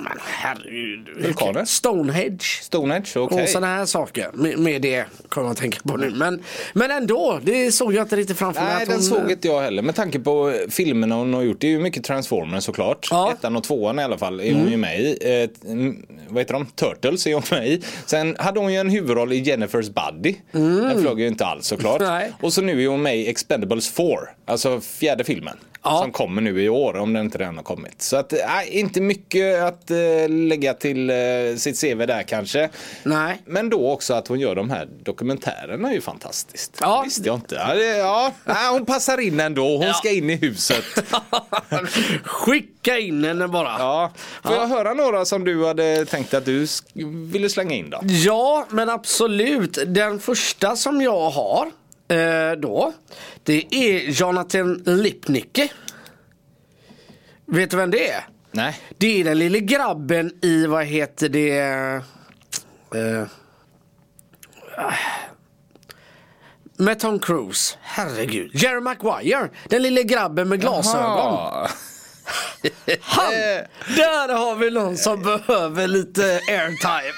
Speaker 2: men herregud.
Speaker 1: Vulkaner?
Speaker 2: Stonehenge.
Speaker 1: Stonehenge, okej.
Speaker 2: Och sådana här saker. Med, med det kommer jag att tänka på nu. Men, men ändå, det såg jag inte riktigt framför mig.
Speaker 1: Nej,
Speaker 2: att
Speaker 1: den
Speaker 2: hon- [LAUGHS] eh,
Speaker 1: såg inte jag heller. Med tanke på eh, filmerna hon har gjort. Det är ju mycket Transformers såklart.
Speaker 2: Ja. Mm.
Speaker 1: Ettan och tvåan i alla fall är hon ju med i. Eh, mm, vad heter de? Turtles är hon med i. Sen hade hon ju en huvudroll i Jennifers Buddy. Den flög ju inte alls såklart.
Speaker 2: Mm. Nej.
Speaker 1: Och så nu är hon med i Expendables 4. Alltså fjärde filmen.
Speaker 2: Ja.
Speaker 1: Som kommer nu i år om den inte redan har kommit. Så att, eh, inte mycket att eh, lägga till eh, sitt CV där kanske.
Speaker 2: Nej.
Speaker 1: Men då också att hon gör de här dokumentärerna är ju fantastiskt.
Speaker 2: Ja.
Speaker 1: Det visste jag inte. Ja, det, ja. Nej, hon passar in ändå. Hon
Speaker 2: Ja.
Speaker 1: ska in i huset.
Speaker 2: Skicka in henne bara.
Speaker 1: Ja. Får jag höra några som du hade tänkt att du sk- ville slänga in då?
Speaker 2: Ja, men absolut. Den första som jag har eh, då, det är Jonathan Lipnicki. Vet du vem det är?
Speaker 1: Nej.
Speaker 2: Det är den lille grabben i, vad heter det? Eh, ah. med Tom Cruise. Herregud. Jerry Maguire. Den lille grabben med glasögon. Eh,
Speaker 1: Jaha.
Speaker 2: Han! Där har vi någon som behöver lite airtime.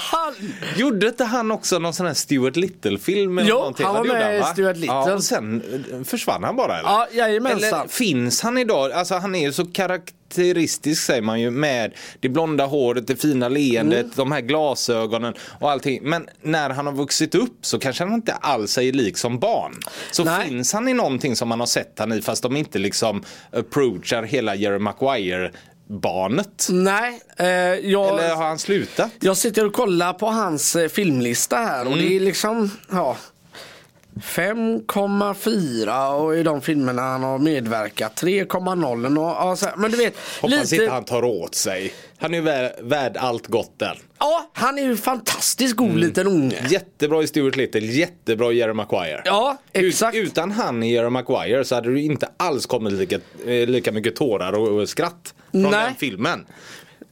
Speaker 2: Han!
Speaker 1: Gjorde inte han också någon sån här Stuart Little-film? eller
Speaker 2: Jo,
Speaker 1: någonting?
Speaker 2: han var
Speaker 1: Ja, det gjorde
Speaker 2: med i
Speaker 1: va?
Speaker 2: Stuart Little.
Speaker 1: Ja, och sen eh, försvann han bara eller?
Speaker 2: Ja, jajamensan.
Speaker 1: Eller finns han idag? Alltså han är ju så karaktäristisk säger man ju med det blonda håret, det fina leendet,
Speaker 2: Mm.
Speaker 1: de här glasögonen och allting. Men när han har vuxit upp så kanske han inte alls är lik som barn. Så
Speaker 2: Nej.
Speaker 1: finns han i någonting som man har sett han i fast de inte liksom approachar hela Jerry Maguire barnet.
Speaker 2: Nej, eh, jag,
Speaker 1: Eller har han slutat?
Speaker 2: jag sitter och kollar på hans eh, filmlista här och
Speaker 1: Mm.
Speaker 2: det är liksom, ja. 5,4 och i de filmerna han har medverkat 3,0 och, ja, så här, men du vet
Speaker 1: Hoppas
Speaker 2: lite,
Speaker 1: inte han tar åt sig. Han är ju vär- värd allt gott där.
Speaker 2: ja, han är ju fantastiskt
Speaker 1: Mm.
Speaker 2: god liten unge.
Speaker 1: Jättebra i Stuart Little, jättebra i Jerry Maguire.
Speaker 2: Ja,
Speaker 1: Ut-
Speaker 2: exakt.
Speaker 1: Utan han i Jerry Maguire så hade du inte alls kommit lika, eh, lika mycket tårar och, och skratt från
Speaker 2: Nej.
Speaker 1: den filmen.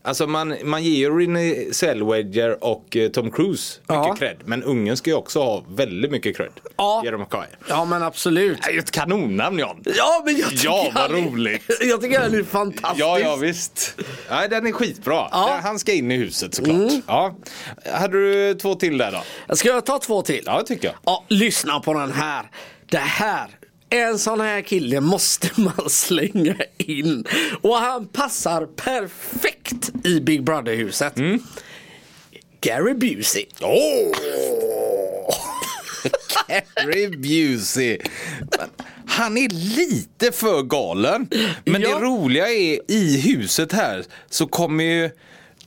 Speaker 1: Alltså man, man ger ju Renée Zellweger och eh, Tom Cruise mycket
Speaker 2: Ja.
Speaker 1: cred. Men ungen ska ju också ha väldigt mycket cred.
Speaker 2: Ja.
Speaker 1: Jerry Maguire.
Speaker 2: Ja men absolut.
Speaker 1: Det är ju ett kanonnamn John.
Speaker 2: Ja men jag tycker
Speaker 1: Ja, vad
Speaker 2: han är-
Speaker 1: roligt.
Speaker 2: [LAUGHS] Jag tycker han är fantastisk.
Speaker 1: Ja, ja visst. Nej, den är skitbra.
Speaker 2: Ja. Mm.
Speaker 1: Den- Han ska in i huset såklart. Ja. Hade du två till där då?
Speaker 2: Ska jag ta två till?
Speaker 1: Ja, det tycker jag.
Speaker 2: Ja, lyssna på den här. Det här. En sån här kille måste [LAUGHS] man slänga in. Och han passar perfekt i Big Brother-huset.
Speaker 1: Mm.
Speaker 2: Gary Busey.
Speaker 1: Åh! Gary Busey. Men Han är lite för galen. Men
Speaker 2: Ja.
Speaker 1: det roliga är i huset här så kommer ju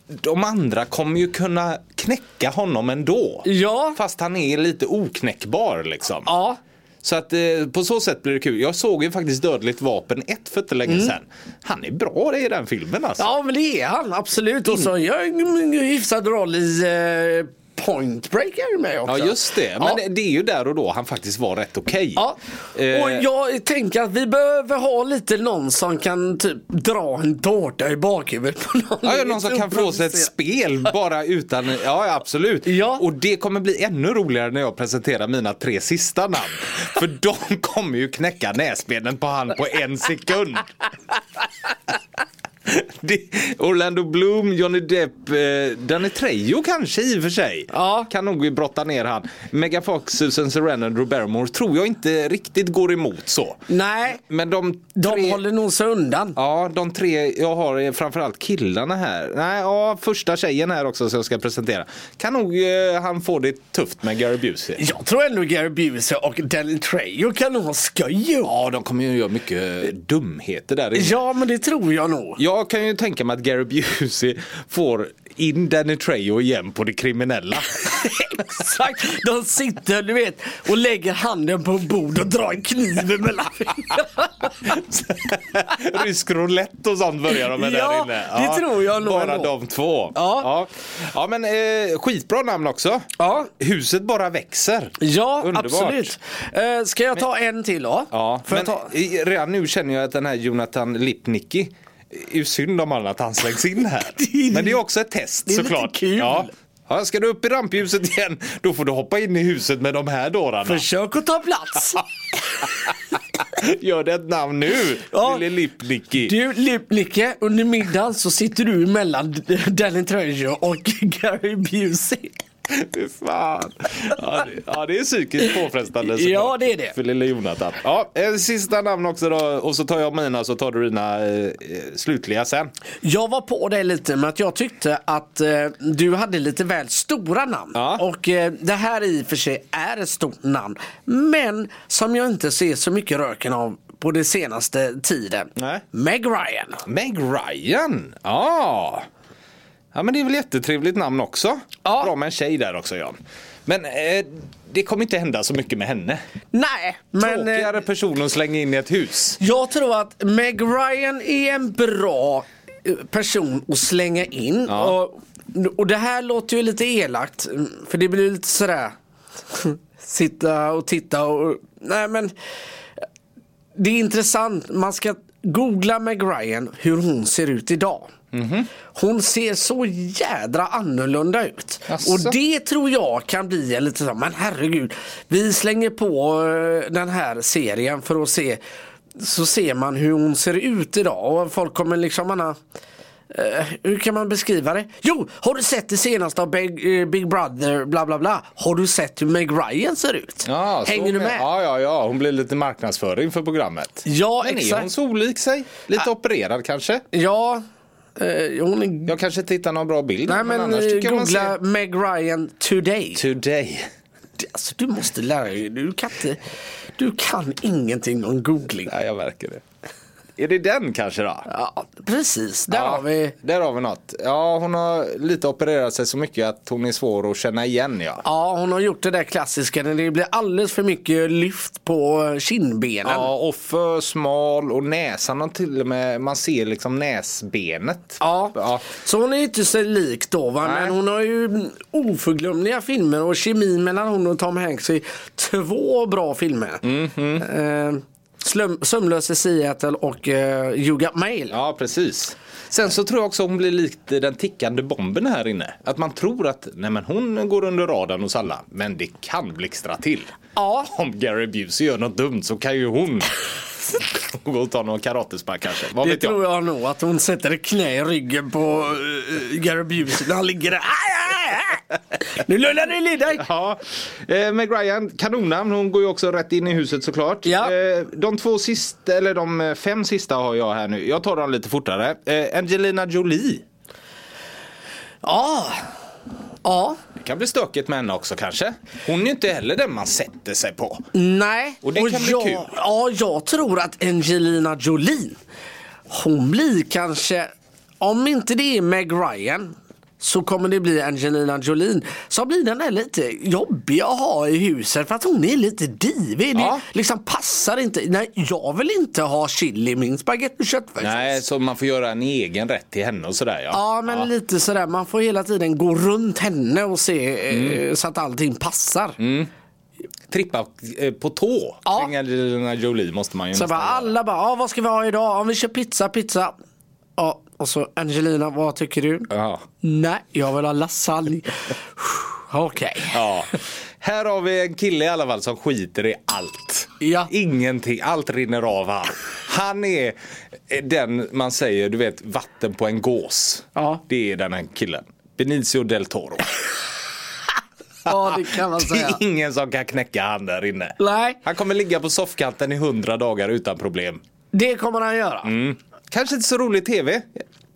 Speaker 1: de andra kommer ju kunna knäcka honom ändå.
Speaker 2: Ja.
Speaker 1: Fast han är lite oknäckbar liksom.
Speaker 2: Ja.
Speaker 1: Så att eh, på så sätt blir det kul. Jag såg ju faktiskt Dödligt vapen 1 för inte länge sedan. Han är bra i den filmen alltså.
Speaker 2: Mm. ja, men det är han absolut. Och så gör han en hyfsad roll i eh, Point Break är det med också.
Speaker 1: Ja just det, men
Speaker 2: Ja.
Speaker 1: det- det är ju där och då han faktiskt var rätt okej.
Speaker 2: Ja, och
Speaker 1: Eh,
Speaker 2: jag tänker att vi behöver ha lite någon som kan typ dra en tårta i bakhuvudet på någon.
Speaker 1: Ja, ja, någon som kan få sig ett spel
Speaker 2: [LAUGHS]
Speaker 1: bara utan, ja ja, absolut.
Speaker 2: Ja.
Speaker 1: Och det kommer bli ännu roligare när jag presenterar mina tre sista
Speaker 2: [LAUGHS]
Speaker 1: namn. För de kommer ju knäcka näsbenen på han på en sekund. [LAUGHS] Det- Orlando Bloom, Johnny Depp, eh, Danny Trejo kanske i och för sig.
Speaker 2: Ja.
Speaker 1: Kan nog ju brotta ner han. Megafox, Susan Sarandon, Drew Barrymore tror jag inte riktigt går emot så.
Speaker 2: Nej,
Speaker 1: Men de
Speaker 2: de
Speaker 1: tre...
Speaker 2: håller nog sig undan.
Speaker 1: Ja, de tre jag har är framförallt killarna här. Nej, ja, första tjejen här också som jag ska presentera. Kan nog eh, han få det tufft med Gary Busey.
Speaker 2: Jag tror ändå Gary Busey och Danny Trejo kan nog ha skoj ihop.
Speaker 1: Ja, de kommer ju göra mycket dumheter där inne. [LAUGHS]
Speaker 2: Ja, men det tror jag nog.
Speaker 1: Jag kan ju tänka mig att Gary Busey får in Danny Trejo igen på det kriminella.
Speaker 2: Exakt! De sitter du vet och lägger handen på bordet och drar en kniv
Speaker 1: [LAUGHS]
Speaker 2: mellan fingrarna.
Speaker 1: Rysk roulette och sånt börjar de med där
Speaker 2: Ja,
Speaker 1: inne.
Speaker 2: det tror jag nog
Speaker 1: Bara
Speaker 2: ändå.
Speaker 1: de två.
Speaker 2: Ja.
Speaker 1: ja. Ja, men eh, skitbra namn också.
Speaker 2: Ja.
Speaker 1: Huset bara växer.
Speaker 2: Ja,
Speaker 1: Underbart.
Speaker 2: absolut. Eh, ska jag ta en till då?
Speaker 1: Ja,
Speaker 2: Får
Speaker 1: men
Speaker 2: jag ta?
Speaker 1: i- redan nu känner jag att den här Jonathan Lipnicki det är ju synd om alla att han slängs in här.
Speaker 2: [LAUGHS] Det är-
Speaker 1: Men det är också ett test
Speaker 2: det är lite
Speaker 1: såklart.
Speaker 2: kul.
Speaker 1: Ja. Ja, ska du upp i rampljuset igen, då får du hoppa in i huset med de här dårarna.
Speaker 2: Försök att
Speaker 1: [LAUGHS]
Speaker 2: ta plats.
Speaker 1: Gör det ett namn nu,
Speaker 2: Ja.
Speaker 1: lille Lipnicki.
Speaker 2: Du Lipnicke, under middagen så sitter du mellan Danny Trejo och [LAUGHS] Gary Busey.
Speaker 1: [LAUGHS] Fy fan. Ja, det, ja, det är psykiskt påfrestande såklart.
Speaker 2: Ja, det är det.
Speaker 1: För lille Jonathan. Ja, eh, sista namn också då. Och så tar jag mina så tar du dina eh, eh, slutliga sen.
Speaker 2: Jag var på det lite med att jag tyckte att eh, du hade lite väl stora namn.
Speaker 1: Ja.
Speaker 2: Och eh, det här i och för sig är ett stort namn. Men som jag inte ser så mycket röken av på den senaste tiden.
Speaker 1: Nej.
Speaker 2: Meg Ryan.
Speaker 1: Meg Ryan. Ja. Ja men det är väl jättetrevligt namn också.
Speaker 2: Ja.
Speaker 1: Bra med en tjej där också Jan. Men eh, det kommer inte hända så mycket med henne.
Speaker 2: Nej, men eh,
Speaker 1: Tråkigare person att slänga in i ett hus.
Speaker 2: jag tror att Meg Ryan är en bra eh, person att slänga in.
Speaker 1: Ja.
Speaker 2: Och, och det här låter ju lite elakt. För det blir lite sådär. [LAUGHS] Sitta och titta och... Nej men. Det är intressant. Man ska googla Meg Ryan hur hon ser ut idag.
Speaker 1: Mhm.
Speaker 2: Hon ser så jädra annorlunda ut.
Speaker 1: Jaså?
Speaker 2: Och det tror jag kan bli en liten så här, men herregud. Vi slänger på eh, den här serien för att se. Så ser man hur hon ser ut idag och folk kommer liksom, man har, eh, hur kan man beskriva det? Jo, har du sett det senaste av Big, eh, Big Brother bla bla bla? Har du sett hur Meg Ryan ser ut?
Speaker 1: Ja, så
Speaker 2: Hänger du med?
Speaker 1: Ja, ja, ja. Hon blir lite marknadsföring för programmet.
Speaker 2: Ja,
Speaker 1: men är
Speaker 2: exakt.
Speaker 1: hon så olik sig? Lite opererad kanske?
Speaker 2: Ja, eh, hon är...
Speaker 1: Jag kanske inte hittar någon bra bild.
Speaker 2: Nej men,
Speaker 1: annars
Speaker 2: eh,
Speaker 1: tycker jag man
Speaker 2: googla Meg Ryan today.
Speaker 1: ser- Today. [LAUGHS]
Speaker 2: Det- Alltså du måste lära dig, du kan inte, du kan ingenting om googling.
Speaker 1: Ja, jag märker det. Är det den kanske då?
Speaker 2: Ja, precis, där
Speaker 1: Ja,
Speaker 2: har vi.
Speaker 1: Där har vi något. Ja, hon har lite opererat sig så mycket att hon är svår att känna igen. Ja.
Speaker 2: Ja, hon har gjort det där klassiska när det blir alldeles för mycket lyft på eh, kindbenen. Ja,
Speaker 1: Ja, och för smal och näsan har till och med, man ser liksom näsbenet. Ja.
Speaker 2: så hon är ju inte så lik då va?
Speaker 1: Nej.
Speaker 2: men hon har ju mm, oförglömliga filmer och kemi mellan hon och Tom Hanks är två bra filmer.
Speaker 1: Mhm.
Speaker 2: Eh, Slöm, Sömnlös i Seattle och eh, You Got Mail.
Speaker 1: Ja, precis. Sen så tror jag också hon blir likt den tickande bomben här inne. Att man tror att nej men hon går under radarn hos alla, men det kan blixtra till.
Speaker 2: Ja.
Speaker 1: Om Gary Busey gör något dumt så kan ju hon [LAUGHS] gå och ta någon karatespark kanske. Vad
Speaker 2: Det
Speaker 1: vet jag?
Speaker 2: tror jag nog att hon sätter ett knä i ryggen på uh, Gary Busey när han
Speaker 1: [LAUGHS]
Speaker 2: ligger där. Aj, aj, aj! Nu lullar du i dig!
Speaker 1: Ja, eh, Meg Ryan, kanonnamn. Hon går ju också rätt in i huset såklart.
Speaker 2: Ja.
Speaker 1: Eh, de två sista, eller de eh, fem sista har jag här nu. Jag tar dem lite fortare. Eh, Angelina Jolie.
Speaker 2: Ja. Ja.
Speaker 1: Det kan bli stökigt med henne också kanske. Hon är ju inte heller den man sätter sig på.
Speaker 2: Nej.
Speaker 1: Och det kan bli
Speaker 2: jag,
Speaker 1: kul.
Speaker 2: Ja, jag tror att Angelina Jolie, hon blir kanske, om inte det är Meg Ryan, så kommer det bli Angelina Jolie. Så blir den där lite jobbig att ha i huset för att hon är lite divig.
Speaker 1: Ja.
Speaker 2: Det liksom passar inte. Nej, jag vill inte ha chili i min spagetti och köttfärssås.
Speaker 1: Nej, så man får göra en egen rätt till henne och sådär ja.
Speaker 2: Ja men lite sådär, man får hela tiden gå runt henne och se
Speaker 1: Mm.
Speaker 2: eh, så att allting passar.
Speaker 1: Trippa eh, på tå
Speaker 2: Ja.
Speaker 1: kring Angelina Jolie måste man ju
Speaker 2: Så
Speaker 1: nästan
Speaker 2: bara,
Speaker 1: göra.
Speaker 2: alla bara, ah, vad ska vi ha idag? Om vi kör pizza, pizza. Ja, och så Angelina, vad tycker du?
Speaker 1: Ja.
Speaker 2: Nej, jag vill ha lasagne. Okej.
Speaker 1: Ja. Här har vi en kille i alla fall som skiter i allt.
Speaker 2: Ja.
Speaker 1: Ingenting, allt rinner av han. Han är den man säger, du vet, vatten på en gås.
Speaker 2: Ja.
Speaker 1: Det är den här killen. Benicio del Toro.
Speaker 2: Ja, [LAUGHS] det kan man
Speaker 1: Det är
Speaker 2: säga.
Speaker 1: ingen som kan knäcka han där inne.
Speaker 2: Nej,
Speaker 1: Han kommer ligga på soffkanten i hundra dagar utan problem.
Speaker 2: det kommer han göra.
Speaker 1: Kanske inte så rolig tv,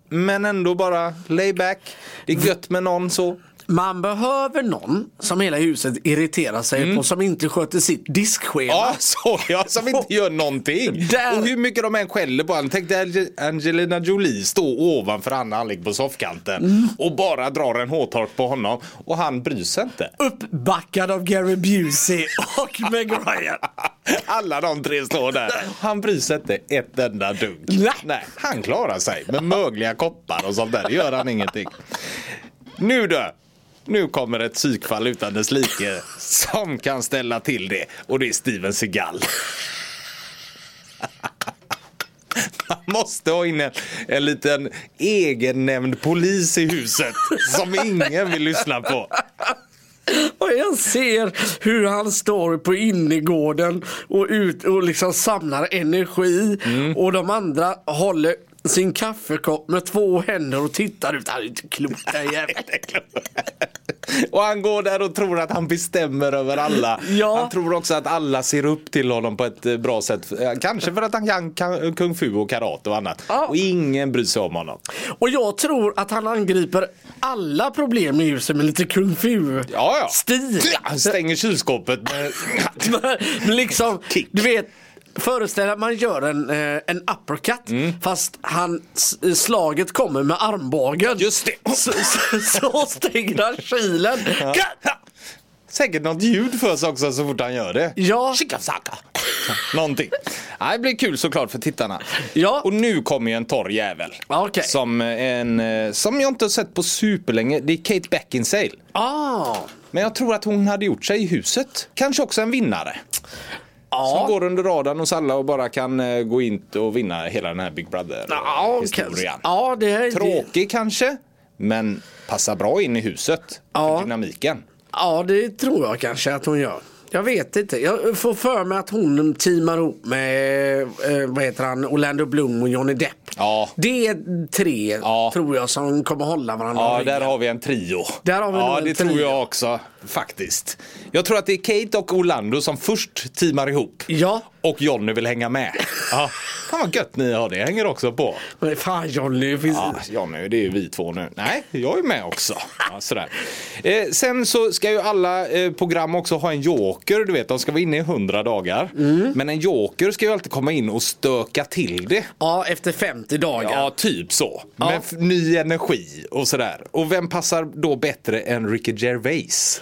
Speaker 1: men ändå bara lay back. Det är gött med någon så.
Speaker 2: Man behöver någon som hela huset irriterar sig på som inte sköter sitt diskschema.
Speaker 1: Ja, [LAUGHS] så ja, som inte gör någonting.
Speaker 2: Där-
Speaker 1: Och hur mycket de än skäller på honom. Tänk dig Ange- Angelina Jolie stå ovanför Anna Allik på soffkanten och bara drar en hårtork på honom och han bryr sig inte.
Speaker 2: Uppbackad av Gary Busey och Meg Ryan.
Speaker 1: Alla de tre står där. Han bryr sig inte ett enda dugg.
Speaker 2: Nej.
Speaker 1: han klarar sig med mögliga koppar och sånt där. Det gör han ingenting. Nu då. Nu kommer ett psykfall utan dess like som kan ställa till det. Och det är Steven Seagal. Man måste ha in en, en liten egennämnd polis i huset som ingen vill lyssna på.
Speaker 2: Och jag ser hur han står på innergården och, ut, och liksom samlar energi.
Speaker 1: Mm.
Speaker 2: Och de andra håller sin kaffekopp med två händer och tittar ut. Han är inte klok den jäveln.
Speaker 1: Och han går där och tror att han bestämmer över alla.
Speaker 2: [LAUGHS] Ja.
Speaker 1: Han tror också att alla ser upp till honom på ett eh, bra sätt. Eh, Kanske för att han kan kan- kung fu och karate och annat.
Speaker 2: Ja.
Speaker 1: Och ingen bryr sig om honom.
Speaker 2: Och jag tror att han angriper alla problem i huset med lite kung fu
Speaker 1: Ja, ja.
Speaker 2: stil.
Speaker 1: Han stänger kylskåpet. med-
Speaker 2: Men liksom,
Speaker 1: Kick.
Speaker 2: du vet. Föreställ dig att man gör en, eh, en uppercut
Speaker 1: Mm.
Speaker 2: fast han, s- slaget kommer med armbågen.
Speaker 1: Just det.
Speaker 2: Så, så, så stänger han kylen.
Speaker 1: Ja. Säkert något ljud för sig också så fort han gör det.
Speaker 2: Ja.
Speaker 1: Shikasaka. Någonting. Ja, Det blir kul såklart för tittarna.
Speaker 2: Ja.
Speaker 1: Och nu kommer ju en torr jävel.
Speaker 2: Ja, okej.
Speaker 1: Som, en, eh, som jag inte har sett på superlänge. Det är Kate Beckinsale.
Speaker 2: Ah,
Speaker 1: Men jag tror att hon hade gjort sig i huset. Kanske också en vinnare. Som
Speaker 2: ja.
Speaker 1: går under radarn hos alla och bara kan eh, gå in och vinna hela den här Big
Speaker 2: Ja, kanske.
Speaker 1: Brother-historien.
Speaker 2: ja, det är det,
Speaker 1: Tråkig kanske, men passar bra in i huset.
Speaker 2: Ja.
Speaker 1: För dynamiken.
Speaker 2: ja, det tror jag kanske att hon gör. Jag vet inte. Jag får för mig att hon teamar ihop med eh, vad heter han, Orlando Bloom och Johnny Depp.
Speaker 1: Ja.
Speaker 2: Det är tre,
Speaker 1: Ja.
Speaker 2: tror jag, som kommer hålla varandra.
Speaker 1: Ja,
Speaker 2: i
Speaker 1: där
Speaker 2: ryggen.
Speaker 1: har vi en trio.
Speaker 2: Där har vi nog
Speaker 1: ja,
Speaker 2: en
Speaker 1: det
Speaker 2: trio.
Speaker 1: tror jag också faktiskt. Jag tror att det är Kate och Orlando som först teamar ihop.
Speaker 2: Ja,
Speaker 1: Och Jonny vill hänga med. Ja. Fan vad gött ni har det, jag hänger också på.
Speaker 2: men fan Johnny. det Finns...
Speaker 1: Ja, Jonny, det är ju vi två nu. Nej, jag är med också. Ja, sådär. Eh, sen så ska ju alla eh, program också ha en joker, du vet, de ska vara inne i 100 dagar. Men en joker ska ju alltid komma in och stöka till det.
Speaker 2: Ja, efter 50 dagar.
Speaker 1: Ja, typ så. Med f- ny energi och sådär. Och vem passar då bättre än Ricky Gervais?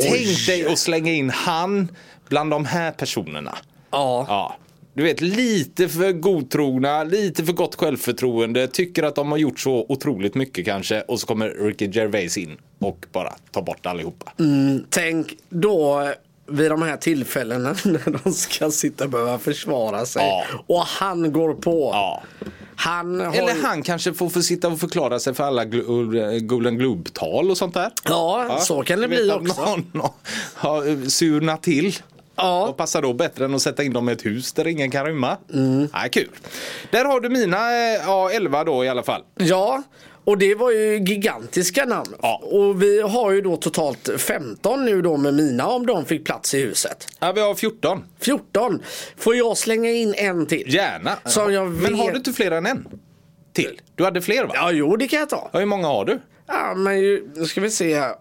Speaker 1: Tänk dig att slänga in han bland de här personerna.
Speaker 2: Ja.
Speaker 1: Ja. Du vet, lite för godtrogna, lite för gott självförtroende, tycker att de har gjort så otroligt mycket kanske och så kommer Ricky Gervais in och bara tar bort allihopa.
Speaker 2: Mm. Tänk då eh, vid de här tillfällena [LAUGHS] när de ska sitta och behöva försvara sig.
Speaker 1: Ja.
Speaker 2: Och han går på.
Speaker 1: Ja.
Speaker 2: Han har...
Speaker 1: Eller han kanske får för sitta och förklara sig för alla gl- Golden Globe-tal och sånt där.
Speaker 2: Ja,
Speaker 1: Ja,
Speaker 2: så kan det
Speaker 1: du vet
Speaker 2: bli
Speaker 1: att
Speaker 2: också.
Speaker 1: Någon har surnat till.
Speaker 2: Ja.
Speaker 1: Vad passar då bättre än att sätta in dem i ett hus där ingen kan rymma? Mm. Ja, kul. Där har du mina eh, ja, 11 då i alla fall.
Speaker 2: Ja, och det var ju gigantiska namn.
Speaker 1: Ja.
Speaker 2: Och vi har ju då totalt 15 nu då med mina om de fick plats i huset.
Speaker 1: Ja, vi har 14.
Speaker 2: 14. Får jag slänga in en till?
Speaker 1: Gärna.
Speaker 2: Som jag
Speaker 1: Men har
Speaker 2: vet-
Speaker 1: du inte fler än en? Till? Du hade fler va?
Speaker 2: Ja, jo det kan jag ta.
Speaker 1: Ja, hur många har du?
Speaker 2: Ja, men ju- nu ska vi se här.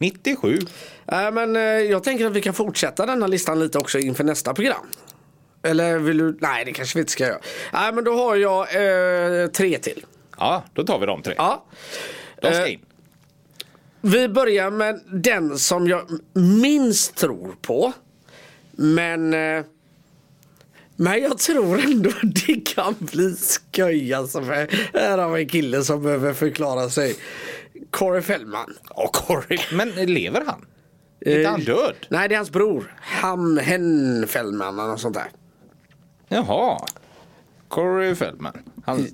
Speaker 1: 97.
Speaker 2: Ja, men eh, jag tänker att vi kan fortsätta denna listan lite också inför nästa program. Eller vill du? Nej, det kanske vi inte ska göra. Nej, men då har jag eh, tre till.
Speaker 1: Ja, då tar vi de tre.
Speaker 2: Ja.
Speaker 1: De ska
Speaker 2: eh,
Speaker 1: in.
Speaker 2: Vi börjar med den som jag minst tror på. Men, eh, men jag tror ändå det kan bli skoj. Alltså, för här har vi en kille som behöver förklara sig. Corey Feldman.
Speaker 1: Ja, Corey. Men lever han? Är
Speaker 2: eh,
Speaker 1: inte han död?
Speaker 2: Nej, det är hans bror. Ham Hen Feldman eller något sånt där.
Speaker 1: Jaha. Corey Feldman. Han, hans,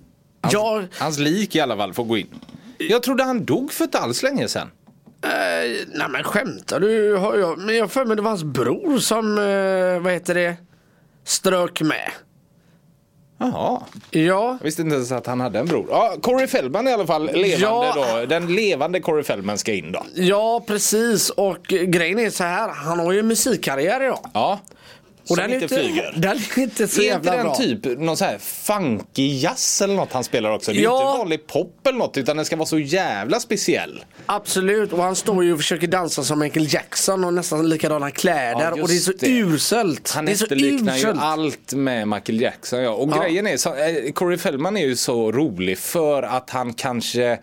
Speaker 2: Ja.
Speaker 1: hans lik i alla fall får gå in. Jag trodde han dog för inte alls länge sedan.
Speaker 2: Eh, nej men skämtar du? Har jag, men jag har för mig det var hans bror som, eh, vad heter det, strök med.
Speaker 1: Jaha.
Speaker 2: Ja.
Speaker 1: Jag visste inte ens att han hade en bror. Ja, Corey Feldman i alla fall levande
Speaker 2: Ja.
Speaker 1: då. Den levande Corey Feldman ska in då.
Speaker 2: Ja precis och grejen är så här, han har ju musikkarriär idag.
Speaker 1: Ja. Som
Speaker 2: den är
Speaker 1: inte flyger.
Speaker 2: [LAUGHS] Den är inte så
Speaker 1: Är inte
Speaker 2: jävla
Speaker 1: den
Speaker 2: bra.
Speaker 1: typ någon så här funky jazz eller något han spelar också? Det är
Speaker 2: Ja.
Speaker 1: ju inte vanlig pop eller något utan den ska vara så jävla speciell.
Speaker 2: Absolut, och han står ju och försöker dansa som Michael Jackson och nästan likadana
Speaker 1: Ja,
Speaker 2: kläder.
Speaker 1: just
Speaker 2: och det är så
Speaker 1: det.
Speaker 2: uselt.
Speaker 1: Han
Speaker 2: det är så
Speaker 1: efterliknar ju allt med Michael Jackson. Ja. Och
Speaker 2: Ja.
Speaker 1: grejen är, så, eh, Corey Feldman är ju så rolig för att han kanske,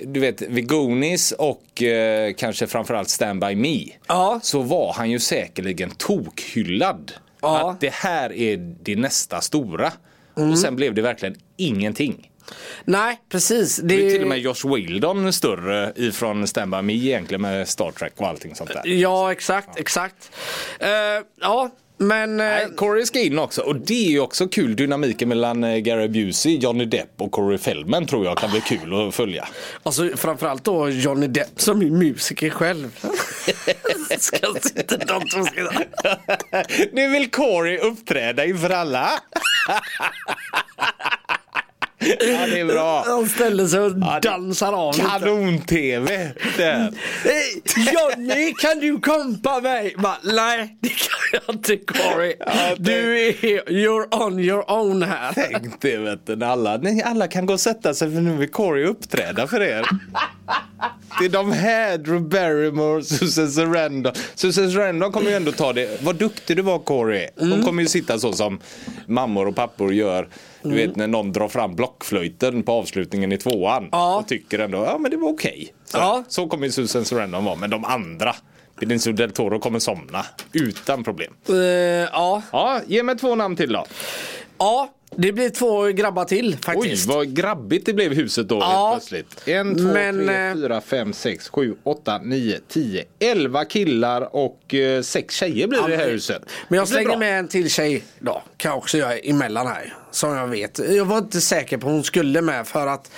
Speaker 1: du vet, vid Goonies och eh, kanske framförallt Stand By Me.
Speaker 2: Ja.
Speaker 1: Så var han ju säkerligen tokhyllad.
Speaker 2: Ja. Mm.
Speaker 1: Att det här är det nästa stora. Och sen blev det verkligen ingenting.
Speaker 2: Nej, precis. Det
Speaker 1: Det är
Speaker 2: är
Speaker 1: ju till och med Josh Wildon större ifrån Stand By Me egentligen med Star Trek och allting sånt där.
Speaker 2: Ja, exakt, exakt. Eh, ja, men... eh,
Speaker 1: Nej, Corey ska in också och det är ju också kul dynamiken mellan eh, Gary Busey, Johnny Depp och Corey Feldman tror jag kan bli kul att följa.
Speaker 2: Alltså framförallt då Johnny Depp som är
Speaker 1: [LAUGHS]
Speaker 2: musiker själv. ska sitta de två ska...
Speaker 1: [LAUGHS] Nu vill Corey uppträda inför alla. [LAUGHS] ja, det är bra.
Speaker 2: Han ställer sig och
Speaker 1: det-
Speaker 2: dansar av lite.
Speaker 1: Kanon-TV. där.
Speaker 2: Hej, Johnny kan du kompa mig? Bara, Nej det kan jag inte Corey.
Speaker 1: Ja, det-
Speaker 2: Du är you're on your own här.
Speaker 1: Tänk det vet du, när alla, nej, alla kan gå och sätta sig för nu vill Corey uppträda för er. Det är de här, Drew Barrymore, Susan Sarandon. Susan Sarandon kommer ju ändå ta det. Vad duktig du var Corey.
Speaker 2: Mm.
Speaker 1: Hon kommer ju sitta så som mammor och pappor gör. Du
Speaker 2: Mm.
Speaker 1: vet när någon drar fram blockflöjten på avslutningen i tvåan.
Speaker 2: Ja.
Speaker 1: Och tycker ändå, ja men det var okej. Så,
Speaker 2: Ja.
Speaker 1: så kommer ju Susan Sarandon vara. Men de andra, Benicio del Toro kommer somna. Utan problem.
Speaker 2: Eh, ja.
Speaker 1: Ja, ge mig två namn till då.
Speaker 2: ja, det blir två grabbar till
Speaker 1: Oj,
Speaker 2: faktiskt.
Speaker 1: vad grabbigt det blev i huset då
Speaker 2: Ja.
Speaker 1: helt plötsligt. 1, 2,
Speaker 2: Men,
Speaker 1: 3,
Speaker 2: eh,
Speaker 1: 4, 5, 6, 7, 8, 9, 10, 11 killar och 6 tjejer blir det i det här huset.
Speaker 2: Men jag
Speaker 1: Det blir bra.
Speaker 2: slänger med en till tjej då. Kan jag också göra emellan här. Som jag vet. Jag var inte säker på hon skulle med för att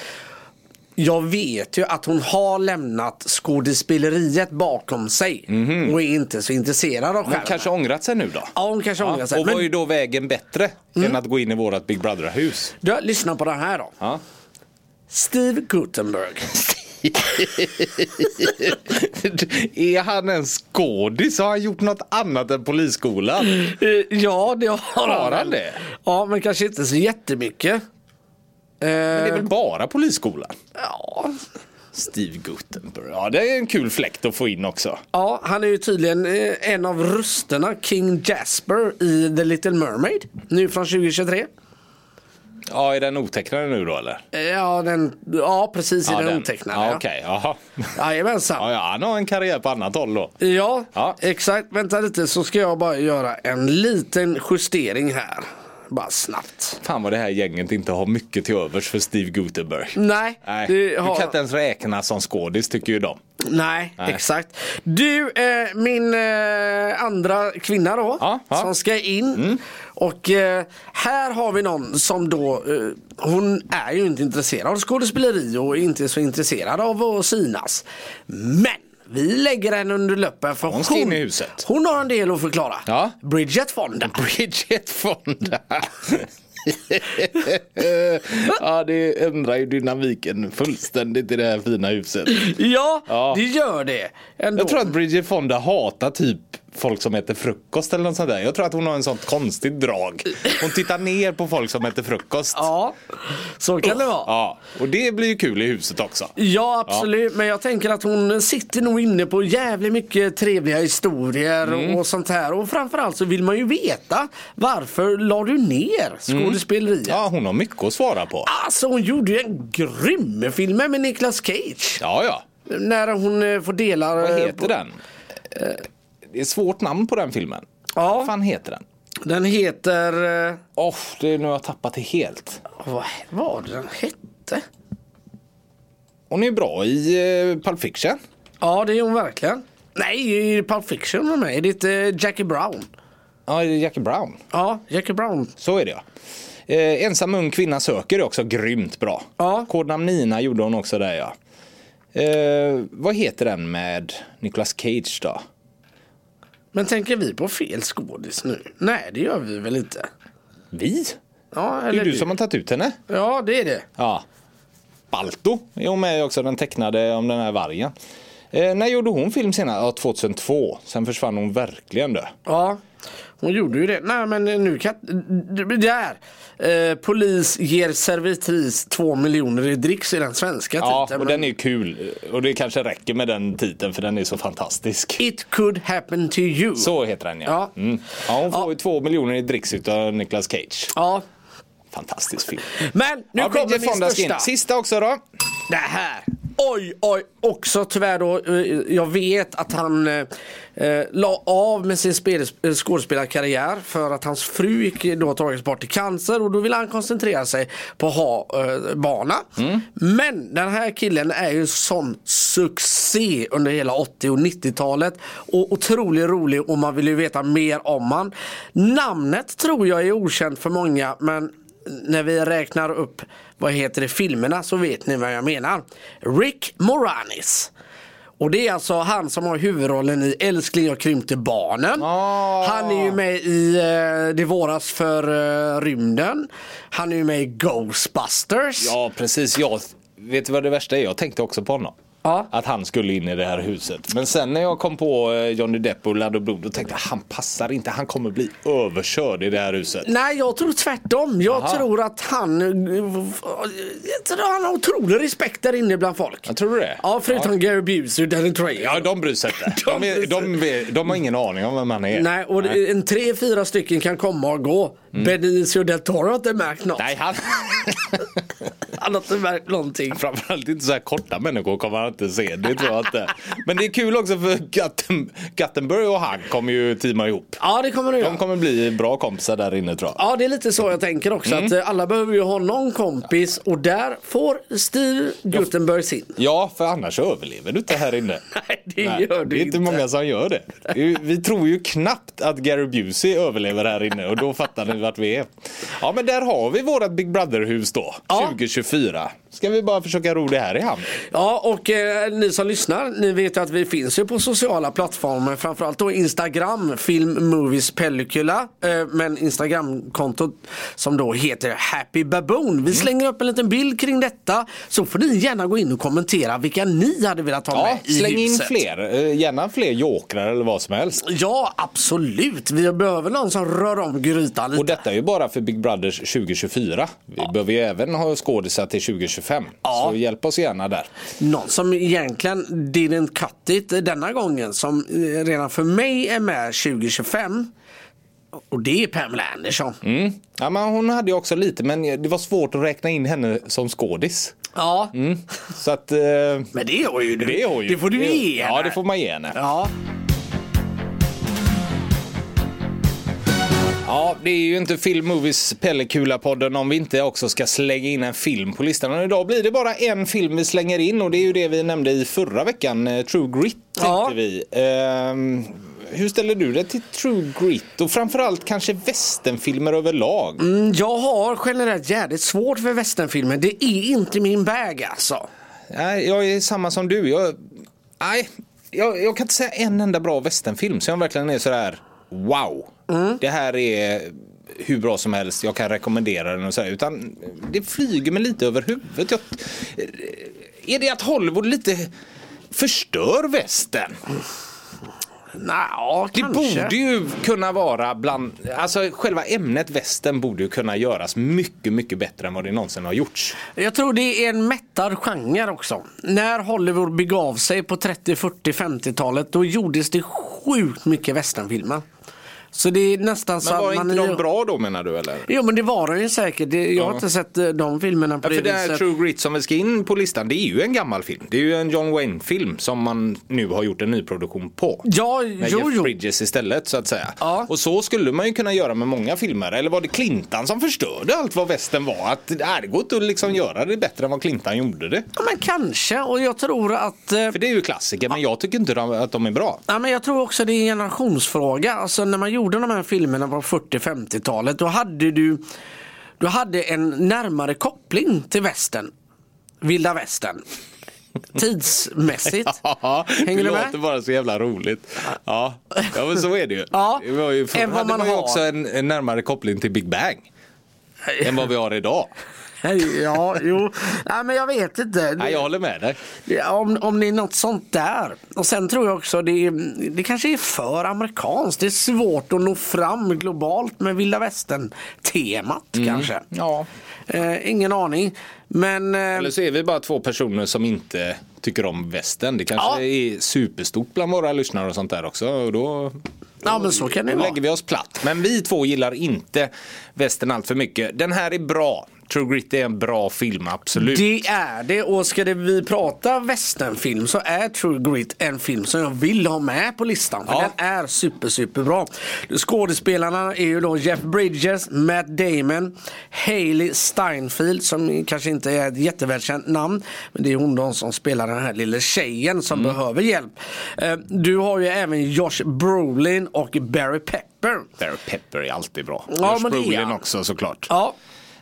Speaker 2: jag vet ju att hon har lämnat skådespeleriet bakom sig och är inte så intresserad av
Speaker 1: Mhm. Men
Speaker 2: skärmen.
Speaker 1: kanske ångrat sig nu då?
Speaker 2: Ja, hon kanske ångrar sig.
Speaker 1: och var
Speaker 2: Men
Speaker 1: ju då vägen bättre än att gå in i vårat Big Brother-hus?
Speaker 2: du, lyssna på den här då.
Speaker 1: Ja.
Speaker 2: Steve Gutenberg.
Speaker 1: [LAUGHS] är han en skådis? Har han gjort något annat än Polisskolan?
Speaker 2: Eh, Ja, det har han.
Speaker 1: Har
Speaker 2: väl.
Speaker 1: han det?
Speaker 2: Ja, men kanske inte så jättemycket.
Speaker 1: Det
Speaker 2: Eh,
Speaker 1: är väl bara Polisskolan?
Speaker 2: ja.
Speaker 1: Steve Gutenberg. Ja, det är en kul fläkt att få in också.
Speaker 2: ja, han är ju tydligen eh, en av rösterna, King Jasper i The Little Mermaid. Nu från 2023.
Speaker 1: Ja, är den otecknad nu då eller?
Speaker 2: Eh, Ja, den, ja precis i den, otecknade.
Speaker 1: Ja,
Speaker 2: ja.
Speaker 1: Okej, jaha.
Speaker 2: Jajamensan.
Speaker 1: Ja, ja, han har en karriär på annat håll då.
Speaker 2: Ja,
Speaker 1: Ja.
Speaker 2: exakt. Vänta lite så ska jag bara göra en liten justering här. Bara snabbt.
Speaker 1: Fan vad det här gänget inte har mycket till övers för Steve Gutenberg.
Speaker 2: Nej,
Speaker 1: Nej,
Speaker 2: det
Speaker 1: du
Speaker 2: har-
Speaker 1: kan inte ens räkna som skådis tycker ju de.
Speaker 2: Nej,
Speaker 1: Nej.
Speaker 2: exakt. Du, eh, min eh, andra kvinna då,
Speaker 1: Ja, ja. Mm.
Speaker 2: som ska in. Och eh, här har vi någon som då, eh, hon är ju inte intresserad av skådespeleri och inte så intresserad av att synas. Men vi lägger henne under löppen för
Speaker 1: Hon ska in i huset.
Speaker 2: hon har en del att förklara.
Speaker 1: Ja.
Speaker 2: Bridget Fonda.
Speaker 1: [LAUGHS] Bridget
Speaker 2: [LAUGHS]
Speaker 1: Fonda. ja, det ändrar ju dynamiken fullständigt i det här fina huset.
Speaker 2: Ja,
Speaker 1: Ja.
Speaker 2: det gör det. Ändå.
Speaker 1: Jag tror att Bridget Fonda hatar typ folk som äter frukost eller något sånt där. Jag tror att hon har en sånt konstigt drag. Hon tittar ner på folk som äter frukost.
Speaker 2: Ja, så kan det vara.
Speaker 1: Ja, och det blir ju kul i huset också.
Speaker 2: Ja absolut, men jag tänker att hon sitter nog inne på jävligt mycket trevliga historier
Speaker 1: Mm.
Speaker 2: och sånt här. Och framförallt så vill man ju veta varför la du ner skådespeleriet?
Speaker 1: Mm. Ja, hon har mycket att svara på.
Speaker 2: Alltså hon gjorde ju en grym film med Nicolas Cage.
Speaker 1: Ja, ja.
Speaker 2: När hon eh, får dela...
Speaker 1: Vad heter den? Det är ett svårt namn på den filmen.
Speaker 2: Ja.
Speaker 1: Vad fan heter den?
Speaker 2: Den heter... eh,
Speaker 1: Oh, det är nu har jag tappat det helt.
Speaker 2: Vad var det den hette?
Speaker 1: Hon är ju bra i eh, Pulp Fiction.
Speaker 2: Ja det är hon verkligen. Nej, i Pulp Fiction var med. Det heter Jackie Brown.
Speaker 1: Ja, det är Jackie Brown.
Speaker 2: Ja, Jackie Brown.
Speaker 1: Så är det ja. Eh, ensam ung kvinna söker är också grymt bra.
Speaker 2: Ja.
Speaker 1: Kodnamn Nina gjorde hon också där ja. Eh, vad heter den med Nicolas Cage då?
Speaker 2: Men tänker vi på fel skådis nu? Nej, det gör vi väl inte?
Speaker 1: Vi?
Speaker 2: Ja,
Speaker 1: Det
Speaker 2: eller
Speaker 1: är du som har tagit ut henne.
Speaker 2: Ja, det är det.
Speaker 1: Ja. Balto är hon med i också, den tecknade om den här vargen. Eh, när gjorde hon film senast? Ja, 2002. Sen försvann hon verkligen du.
Speaker 2: Ja, hon gjorde ju det. Nej men nu kan d- Där! Eh, polis ger servitris två miljoner i dricks i den svenska
Speaker 1: Ja,
Speaker 2: titeln.
Speaker 1: och
Speaker 2: men-
Speaker 1: den är ju kul. Och det kanske räcker med den titeln för den är så fantastisk.
Speaker 2: It could happen to you.
Speaker 1: Så heter den ja.
Speaker 2: Ja.
Speaker 1: Mm. ja hon får ju två miljoner i dricks utav Nicolas Cage.
Speaker 2: Ja.
Speaker 1: Fantastisk film.
Speaker 2: Men nu
Speaker 1: Ja,
Speaker 2: kommer
Speaker 1: Bridget
Speaker 2: min
Speaker 1: Fondas
Speaker 2: största.
Speaker 1: in. Sista också då.
Speaker 2: Det här. Oj, oj, också tyvärr då. eh, Jag vet att han eh, eh, la av med sin spel, eh, skådespelarkarriär för att hans fru gick då tagits bort i cancer och då ville han koncentrera sig på att ha eh, barna. Men den här killen är ju en sån succé under hela 80 och 90-talet och otroligt rolig och man vill ju veta mer om han. Namnet tror jag är okänt för många men när vi räknar upp vad heter det filmerna så vet ni vad jag menar. Rick Moranis. Och det är alltså han som har huvudrollen i Älskling jag krympte barnen.
Speaker 1: Ah.
Speaker 2: Han är ju med i eh, Det våras för eh, rymden. Han är ju med i Ghostbusters.
Speaker 1: Ja, precis. Jag, vet du vad det värsta är? Jag tänkte också på honom.
Speaker 2: Ja.
Speaker 1: Att han skulle in i det här huset. Men sen när jag kom på eh, Johnny Depp och Ladd och Blod, då tänkte jag han passar inte. Han kommer bli överkörd i det här huset.
Speaker 2: Nej, jag tror tvärtom. Jag
Speaker 1: Aha.
Speaker 2: tror att han... eh, Jag tror han har otrolig respekt där inne bland folk.
Speaker 1: Jag tror du det?
Speaker 2: Ja, förutom Gary Busey och Danny Trejo.
Speaker 1: Ja, de bryr sig inte.
Speaker 2: [LAUGHS] De
Speaker 1: De, är,
Speaker 2: bryr sig
Speaker 1: de, är, de har ingen aning om vem han är.
Speaker 2: Nej, Mm. och det- en tre, fyra stycken kan komma och gå. Benicio del Toro har inte märkt något.
Speaker 1: Nej, han... [LAUGHS]
Speaker 2: Han har inte märkt någonting.
Speaker 1: Framförallt inte så här korta människor kommer han inte se. Det tror jag inte. Men det är kul också för Gutten, Guttenberg och han kommer ju teama ihop.
Speaker 2: Ja, det kommer det
Speaker 1: De
Speaker 2: göra.
Speaker 1: kommer bli bra kompisar där inne tror jag.
Speaker 2: Ja, det är lite så jag tänker också. Att eh, alla behöver ju ha någon kompis och där får Steve Gutenberg sin.
Speaker 1: Ja, för annars överlever du inte här inne.
Speaker 2: Nej, det
Speaker 1: Nej,
Speaker 2: gör
Speaker 1: det
Speaker 2: du
Speaker 1: är inte
Speaker 2: inte.
Speaker 1: många som gör det. Det är ju- Vi tror ju knappt att Gary Busey överlever här inne och då fattar ni vart vi är. Ja men där har vi vårat Big Brother-hus då,
Speaker 2: Ja.
Speaker 1: 2024. Ska vi bara försöka ro det här i hamn?
Speaker 2: Ja, och eh, ni som lyssnar, ni vet ju att vi finns ju på sociala plattformar. Framförallt då Instagram, Film Movies Pellicula. Eh, men Instagramkontot som då heter Happy Baboon.
Speaker 1: Mm.
Speaker 2: Vi slänger upp en liten bild kring detta. Så får ni gärna gå in och kommentera vilka ni hade velat ha
Speaker 1: Ja,
Speaker 2: med i
Speaker 1: släng in
Speaker 2: huset.
Speaker 1: fler. Eh, Gärna fler jokrar eller vad som helst.
Speaker 2: Ja, absolut. Vi behöver någon som rör om grytan lite.
Speaker 1: Och detta är ju bara för Big Brothers 2024. Vi behöver ju även ha skådisar till 2025.
Speaker 2: Ja.
Speaker 1: Så hjälp oss gärna där.
Speaker 2: Någon som egentligen didn't cut it denna gången som eh, redan för mig är med 2025. Och det är Pamela Anderson.
Speaker 1: Mm. Ja, men hon hade ju också lite, men det var svårt att räkna in henne som skådis.
Speaker 2: Ja,
Speaker 1: Så att... Eh...
Speaker 2: men det har ju du.
Speaker 1: Mm. Det, har ju,
Speaker 2: får du ge
Speaker 1: Ja,
Speaker 2: henne.
Speaker 1: det får man ge henne.
Speaker 2: Ja.
Speaker 1: Ja, det är ju inte Film Movies Pellekula-podden om vi inte också ska slänga in en film på listan. Och idag blir det bara en film vi slänger in och det är ju det vi nämnde i förra veckan, eh, True Grit tänkte
Speaker 2: Ja.
Speaker 1: vi. Ehm, hur ställer du dig till True Grit och framförallt kanske västernfilmer överlag?
Speaker 2: Mm, Jag har generellt jävligt svårt för westernfilmer. Det är inte min bag alltså.
Speaker 1: Nej, jag är samma som du. Jag, nej, jag, jag kan inte säga en enda bra westernfilm som jag verkligen är sådär wow.
Speaker 2: Mm.
Speaker 1: Det här är hur bra som helst, jag kan rekommendera den och sådär. Utan det flyger mig lite över huvudet. Jag, är det att Hollywood lite förstör västern?
Speaker 2: Nej, ja,
Speaker 1: Det
Speaker 2: kanske.
Speaker 1: borde ju kunna vara bland, alltså själva ämnet västern borde ju kunna göras mycket, mycket bättre än vad det någonsin har gjorts.
Speaker 2: Jag tror det är en mättad genre också. När Hollywood begav sig på 30, 40, 50-talet då gjordes det sjukt mycket westernfilmer. Så det är nästan så
Speaker 1: Men var
Speaker 2: att man...
Speaker 1: inte
Speaker 2: är-
Speaker 1: de bra då menar du eller?
Speaker 2: Jo men det var det ju säkert. Det, jag har inte sett eh, de filmerna på
Speaker 1: Ja, för det här
Speaker 2: viset.
Speaker 1: True Grit som vi ska in på listan, det är ju en gammal film. Det är ju en John Wayne-film som man nu har gjort en nyproduktion på.
Speaker 2: Ja,
Speaker 1: Med
Speaker 2: jo,
Speaker 1: Jeff
Speaker 2: jo.
Speaker 1: Bridges istället så att säga.
Speaker 2: Ja.
Speaker 1: Och så skulle man ju kunna göra med många filmer. Eller var det Clintan som förstörde allt vad västern var? Att nej, det går inte att liksom göra det bättre än vad Clintan gjorde det.
Speaker 2: Ja, men kanske. Och jag tror att... eh,
Speaker 1: För det är ju klassiker men jag tycker inte de- att de är bra. [LAUGHS]
Speaker 2: Ja, men jag tror också det är en generationsfråga. Alltså, när man gjorde de här filmerna på 40-50-talet då hade du, du hade en närmare koppling till västern. Vilda västern. Tidsmässigt.
Speaker 1: [LAUGHS] Ja, det
Speaker 2: Hänger du
Speaker 1: låter
Speaker 2: med?
Speaker 1: bara så jävla roligt. Ja, ja men så är det ju.
Speaker 2: Ja,
Speaker 1: det var ju förr
Speaker 2: än vad
Speaker 1: hade
Speaker 2: man
Speaker 1: man ju
Speaker 2: har.
Speaker 1: också en, en närmare koppling till Big Bang än vad vi har idag.
Speaker 2: Nej, ja, jo. Nej, men jag vet inte.
Speaker 1: Nej, jag håller med dig.
Speaker 2: Ja, Om, om det är något sånt där. Och sen tror jag också det, är- det kanske är för amerikanskt. Det är svårt att nå fram globalt med vilda västern temat
Speaker 1: Mm.
Speaker 2: kanske.
Speaker 1: Ja.
Speaker 2: Eh, ingen aning. Men eh,
Speaker 1: Eller så är vi bara två personer som inte tycker om västen. Det kanske
Speaker 2: Ja.
Speaker 1: är superstort bland våra lyssnare och sånt där också. Och då
Speaker 2: ja, men så kan det
Speaker 1: då
Speaker 2: vara.
Speaker 1: lägger vi oss platt. Men vi två gillar inte västen allt för mycket. Den här är bra. True Grit är en bra film, absolut.
Speaker 2: Det är det och ska det vi prata västernfilm så är True Grit en film som jag vill ha med på listan. För
Speaker 1: Ja.
Speaker 2: Den är super superbra. Skådespelarna är ju då Jeff Bridges, Matt Damon, Hailey Steinfeld som kanske inte är ett jättevälkänt namn. Men det är hon då som spelar den här lilla tjejen som
Speaker 1: Mm.
Speaker 2: behöver hjälp. Eh, Du har ju även Josh Brolin och Barry Pepper.
Speaker 1: Barry Pepper är alltid bra.
Speaker 2: Ja,
Speaker 1: Josh
Speaker 2: men det är
Speaker 1: Brolin
Speaker 2: han.
Speaker 1: också såklart.
Speaker 2: Ja,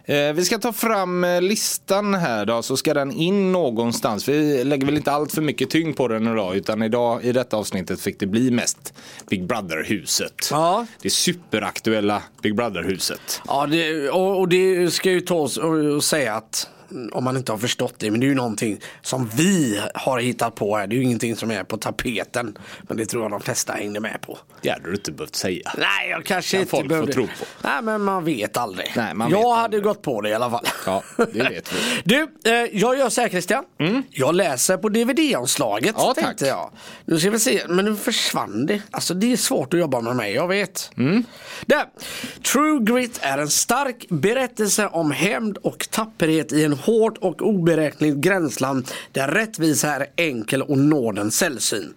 Speaker 1: Eh, vi ska ta fram eh, listan här då, så ska den in någonstans. Vi lägger väl inte allt för mycket tyngd på den idag, utan idag i detta avsnittet fick det bli mest Big Brother-huset.
Speaker 2: Ja.
Speaker 1: Det superaktuella Big Brother-huset.
Speaker 2: Ja, det, och, och det ska ju tas och, och säga att mm, om man inte har förstått det, men det är ju någonting som vi har hittat på här. Det är ju ingenting som är på tapeten. Men det tror jag de flesta hängde med på.
Speaker 1: Det hade du inte behövt säga.
Speaker 2: Nej, jag kanske
Speaker 1: Kan
Speaker 2: inte
Speaker 1: folk få
Speaker 2: behövde.
Speaker 1: tro på.
Speaker 2: Nej, men man vet aldrig.
Speaker 1: Nej, man
Speaker 2: jag
Speaker 1: vet
Speaker 2: hade
Speaker 1: aldrig.
Speaker 2: gått på det i alla fall.
Speaker 1: Ja, det vet vi.
Speaker 2: [LAUGHS]
Speaker 1: Mm.
Speaker 2: Du, eh, jag gör så här Christian. Jag läser på DVD-omslaget
Speaker 1: Ja, tack.
Speaker 2: tänkte jag. Nu ska vi se, men nu försvann det. Alltså det är svårt att jobba med mig, jag vet. Där. True Grit är en stark berättelse om hämnd och tapperhet i en hårt och oberäkneligt gränsland där rättvisa är enkel och nåden sällsyn.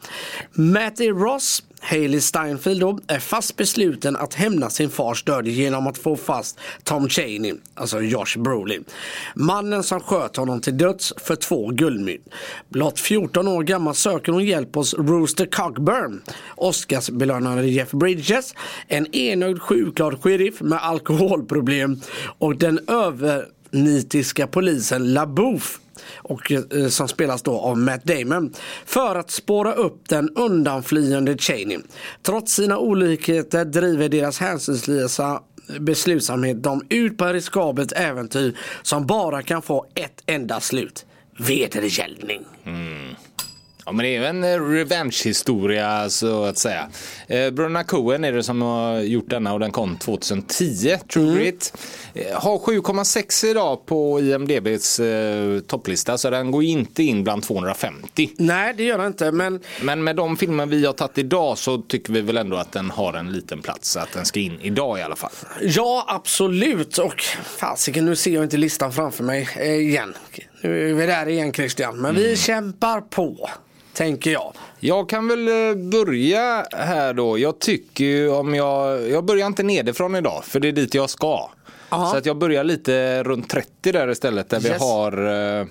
Speaker 2: Matty Ross Hailey Steinfeld då, är fast besluten att hämna sin fars död genom att få fast Tom Cheney, alltså Josh Brolin. Mannen som sköt honom till döds för två guldmynt. Blott 14 år gammal söker hon hjälp hos Rooster Cockburn, Oscarsbelönade Jeff Bridges, en enögd sjukglad sheriff med alkoholproblem och den övernitiska polisen LaBouffe och eh, som spelas då av Matt Damon för att spåra upp den undanflyende Cheney. Trots sina olikheter driver deras hänsynslösa beslutsamhet dem ut på ett riskabelt äventyr som bara kan få ett enda slut. Vedergällning.
Speaker 1: Ja, men det är ju en eh, revenge-historia så att säga. Eh, Bruna Cohen är det som har gjort denna och den kom 2010, True Grit. Eh, har 7,6 idag på IMDBs eh, topplista så den går ju inte in bland 250.
Speaker 2: Nej, det gör det inte, men
Speaker 1: Men med de filmer vi har tagit idag så tycker vi väl ändå att den har en liten plats så att den ska in idag i alla fall.
Speaker 2: Ja, absolut. Och fasiken, nu ser jag inte listan framför mig eh, igen. Nu är vi där igen Christian, men vi kämpar på, tänker jag.
Speaker 1: Jag kan väl eh, börja här då. Jag tycker ju om jag... Jag börjar inte nedifrån idag, för det är dit jag ska.
Speaker 2: Aha.
Speaker 1: Så att jag börjar lite runt 30 där istället, där
Speaker 2: Yes.
Speaker 1: vi har eh,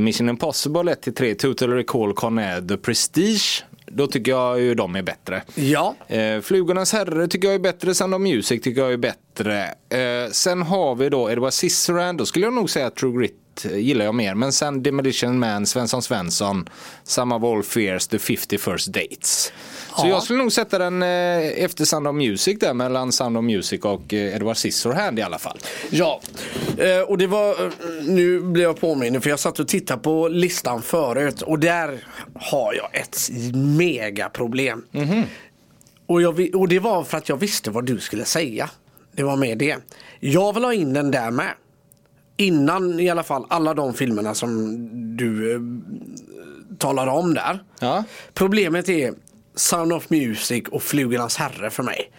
Speaker 1: Mission Impossible 1-3, Total Recall, Con Air, The Prestige. Då tycker jag ju de är bättre.
Speaker 2: Ja.
Speaker 1: Eh, Flugornas herre tycker jag är bättre, Sound of Music tycker jag är bättre. Eh, sen har vi då Edward Scissorhands, då skulle jag nog säga att True Grit eh, gillar jag mer. Men sen Demolition Man, Svensson Svensson, Some of All Fears, The 50 First Dates. Så
Speaker 2: Ja.
Speaker 1: jag skulle nog sätta den eh, efter Sound of Music där, mellan Sound of Music och eh, Edward Scissorhands i alla fall.
Speaker 2: Ja, eh, och det var, eh, nu blir jag påmind för jag satt och tittade på listan förut och där har jag ett megaproblem. Och, jag, vi- och det var för att jag visste vad du skulle säga. Det var med det. Jag vill ha in den där med. Innan i alla fall alla de filmerna som du eh, talade om där.
Speaker 1: Ja.
Speaker 2: Problemet är Sound of Music och Flugornas Herre för mig.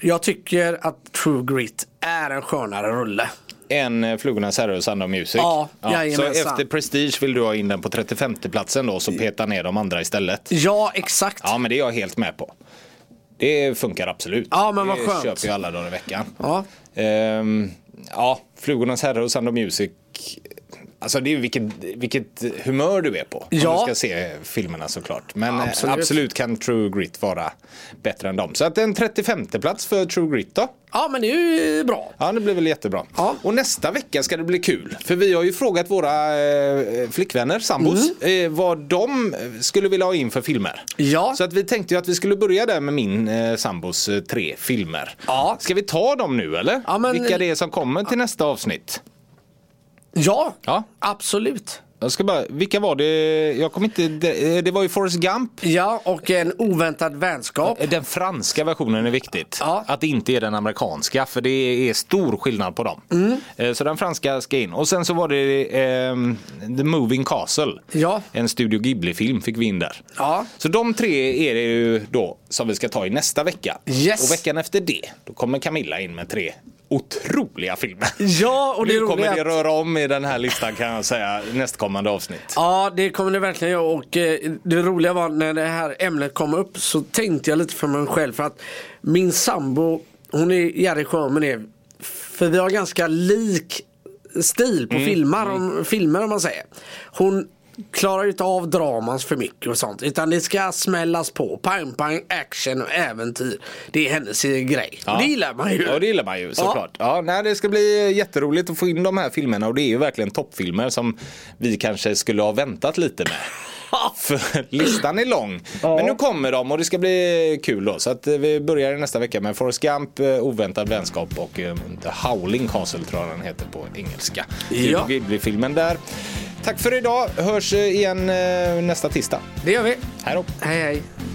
Speaker 2: Jag tycker att True Grit är en skönare rulle.
Speaker 1: En eh, Flugornas herre och Sound of Music.
Speaker 2: Ja,
Speaker 1: Så
Speaker 2: jajamensan.
Speaker 1: efter Prestige vill du ha in den på 35 platsen då, så peta ner de andra istället.
Speaker 2: Ja, exakt.
Speaker 1: Ja, men det är jag helt med på. Det funkar absolut.
Speaker 2: Ja, men vad
Speaker 1: det
Speaker 2: skönt.
Speaker 1: köper jag alla dagar i veckan.
Speaker 2: Ja.
Speaker 1: Ehm, ja, Flugornas herre och Sound of Music. Alltså det är ju vilket, vilket humör du är på. Om
Speaker 2: Ja.
Speaker 1: du ska se filmerna såklart. Men eh,
Speaker 2: absolut.
Speaker 1: absolut. kan True Grit vara bättre än dem. Så att en 35 plats för True Grit då.
Speaker 2: Ja, men det är ju bra.
Speaker 1: Ja, det blir väl jättebra.
Speaker 2: Ja.
Speaker 1: Och nästa vecka ska det bli kul. För vi har ju frågat våra eh, flickvänner, sambos,
Speaker 2: Mm.
Speaker 1: eh, vad de skulle vilja ha in för filmer.
Speaker 2: Ja.
Speaker 1: Så att vi tänkte ju att vi skulle börja där med min eh, sambos eh, tre filmer.
Speaker 2: Ja.
Speaker 1: Ska vi ta dem nu eller?
Speaker 2: Ja, men-
Speaker 1: Vilka det är som kommer till nästa avsnitt.
Speaker 2: Ja,
Speaker 1: Ja.
Speaker 2: absolut.
Speaker 1: Jag ska bara, vilka var det? Jag kommer inte, det, det var ju Forrest Gump.
Speaker 2: Ja, och en oväntad vänskap.
Speaker 1: Den franska versionen är viktigt.
Speaker 2: Ja.
Speaker 1: Att det inte är den amerikanska för det är stor skillnad på dem.
Speaker 2: Mm.
Speaker 1: Eh, Så den franska ska in. Och sen så var det ehm, The Moving Castle.
Speaker 2: Ja.
Speaker 1: En Studio Ghibli-film fick vi in där.
Speaker 2: Ja.
Speaker 1: Så de tre är det ju då som vi ska ta i nästa vecka.
Speaker 2: Yes.
Speaker 1: Och veckan efter det, då kommer Camilla in med tre otroliga filmer.
Speaker 2: Ja, och det
Speaker 1: nu
Speaker 2: roliga
Speaker 1: kommer
Speaker 2: är
Speaker 1: det
Speaker 2: att-
Speaker 1: röra om i den här listan kan jag säga nästkommande avsnitt.
Speaker 2: Ja, det kommer det verkligen göra. Och eh, det roliga var när det här ämnet kom upp så tänkte jag lite för mig själv. För att min sambo, hon är Jerry Sjöman är. För vi har ganska lik stil
Speaker 1: Mm,
Speaker 2: på filmer, om, filmer om man säger. Hon klarar ju inte av dramans för mycket och sånt. Utan det ska smällas på. Pang, pang, action och äventyr. Det är hennes grej. Och det gillar man ju.
Speaker 1: Ja, det gillar man ju såklart. Ja. nej, det ska bli jätteroligt att få in de här filmerna och det är ju verkligen toppfilmer som vi kanske skulle ha väntat lite
Speaker 2: [LAUGHS]
Speaker 1: med. För listan är lång. Men nu kommer de och det ska bli kul då. Så att eh, vi börjar nästa vecka med Forrest Gump, eh, Oväntad vänskap och eh, The Howling Castle tror jag den heter på engelska.
Speaker 2: Ja.
Speaker 1: Ja. Ghibli-filmen där. Tack för idag. Hörs eh, igen eh, nästa tisdag.
Speaker 2: det gör vi.
Speaker 1: Hej då.
Speaker 2: Hej, hej.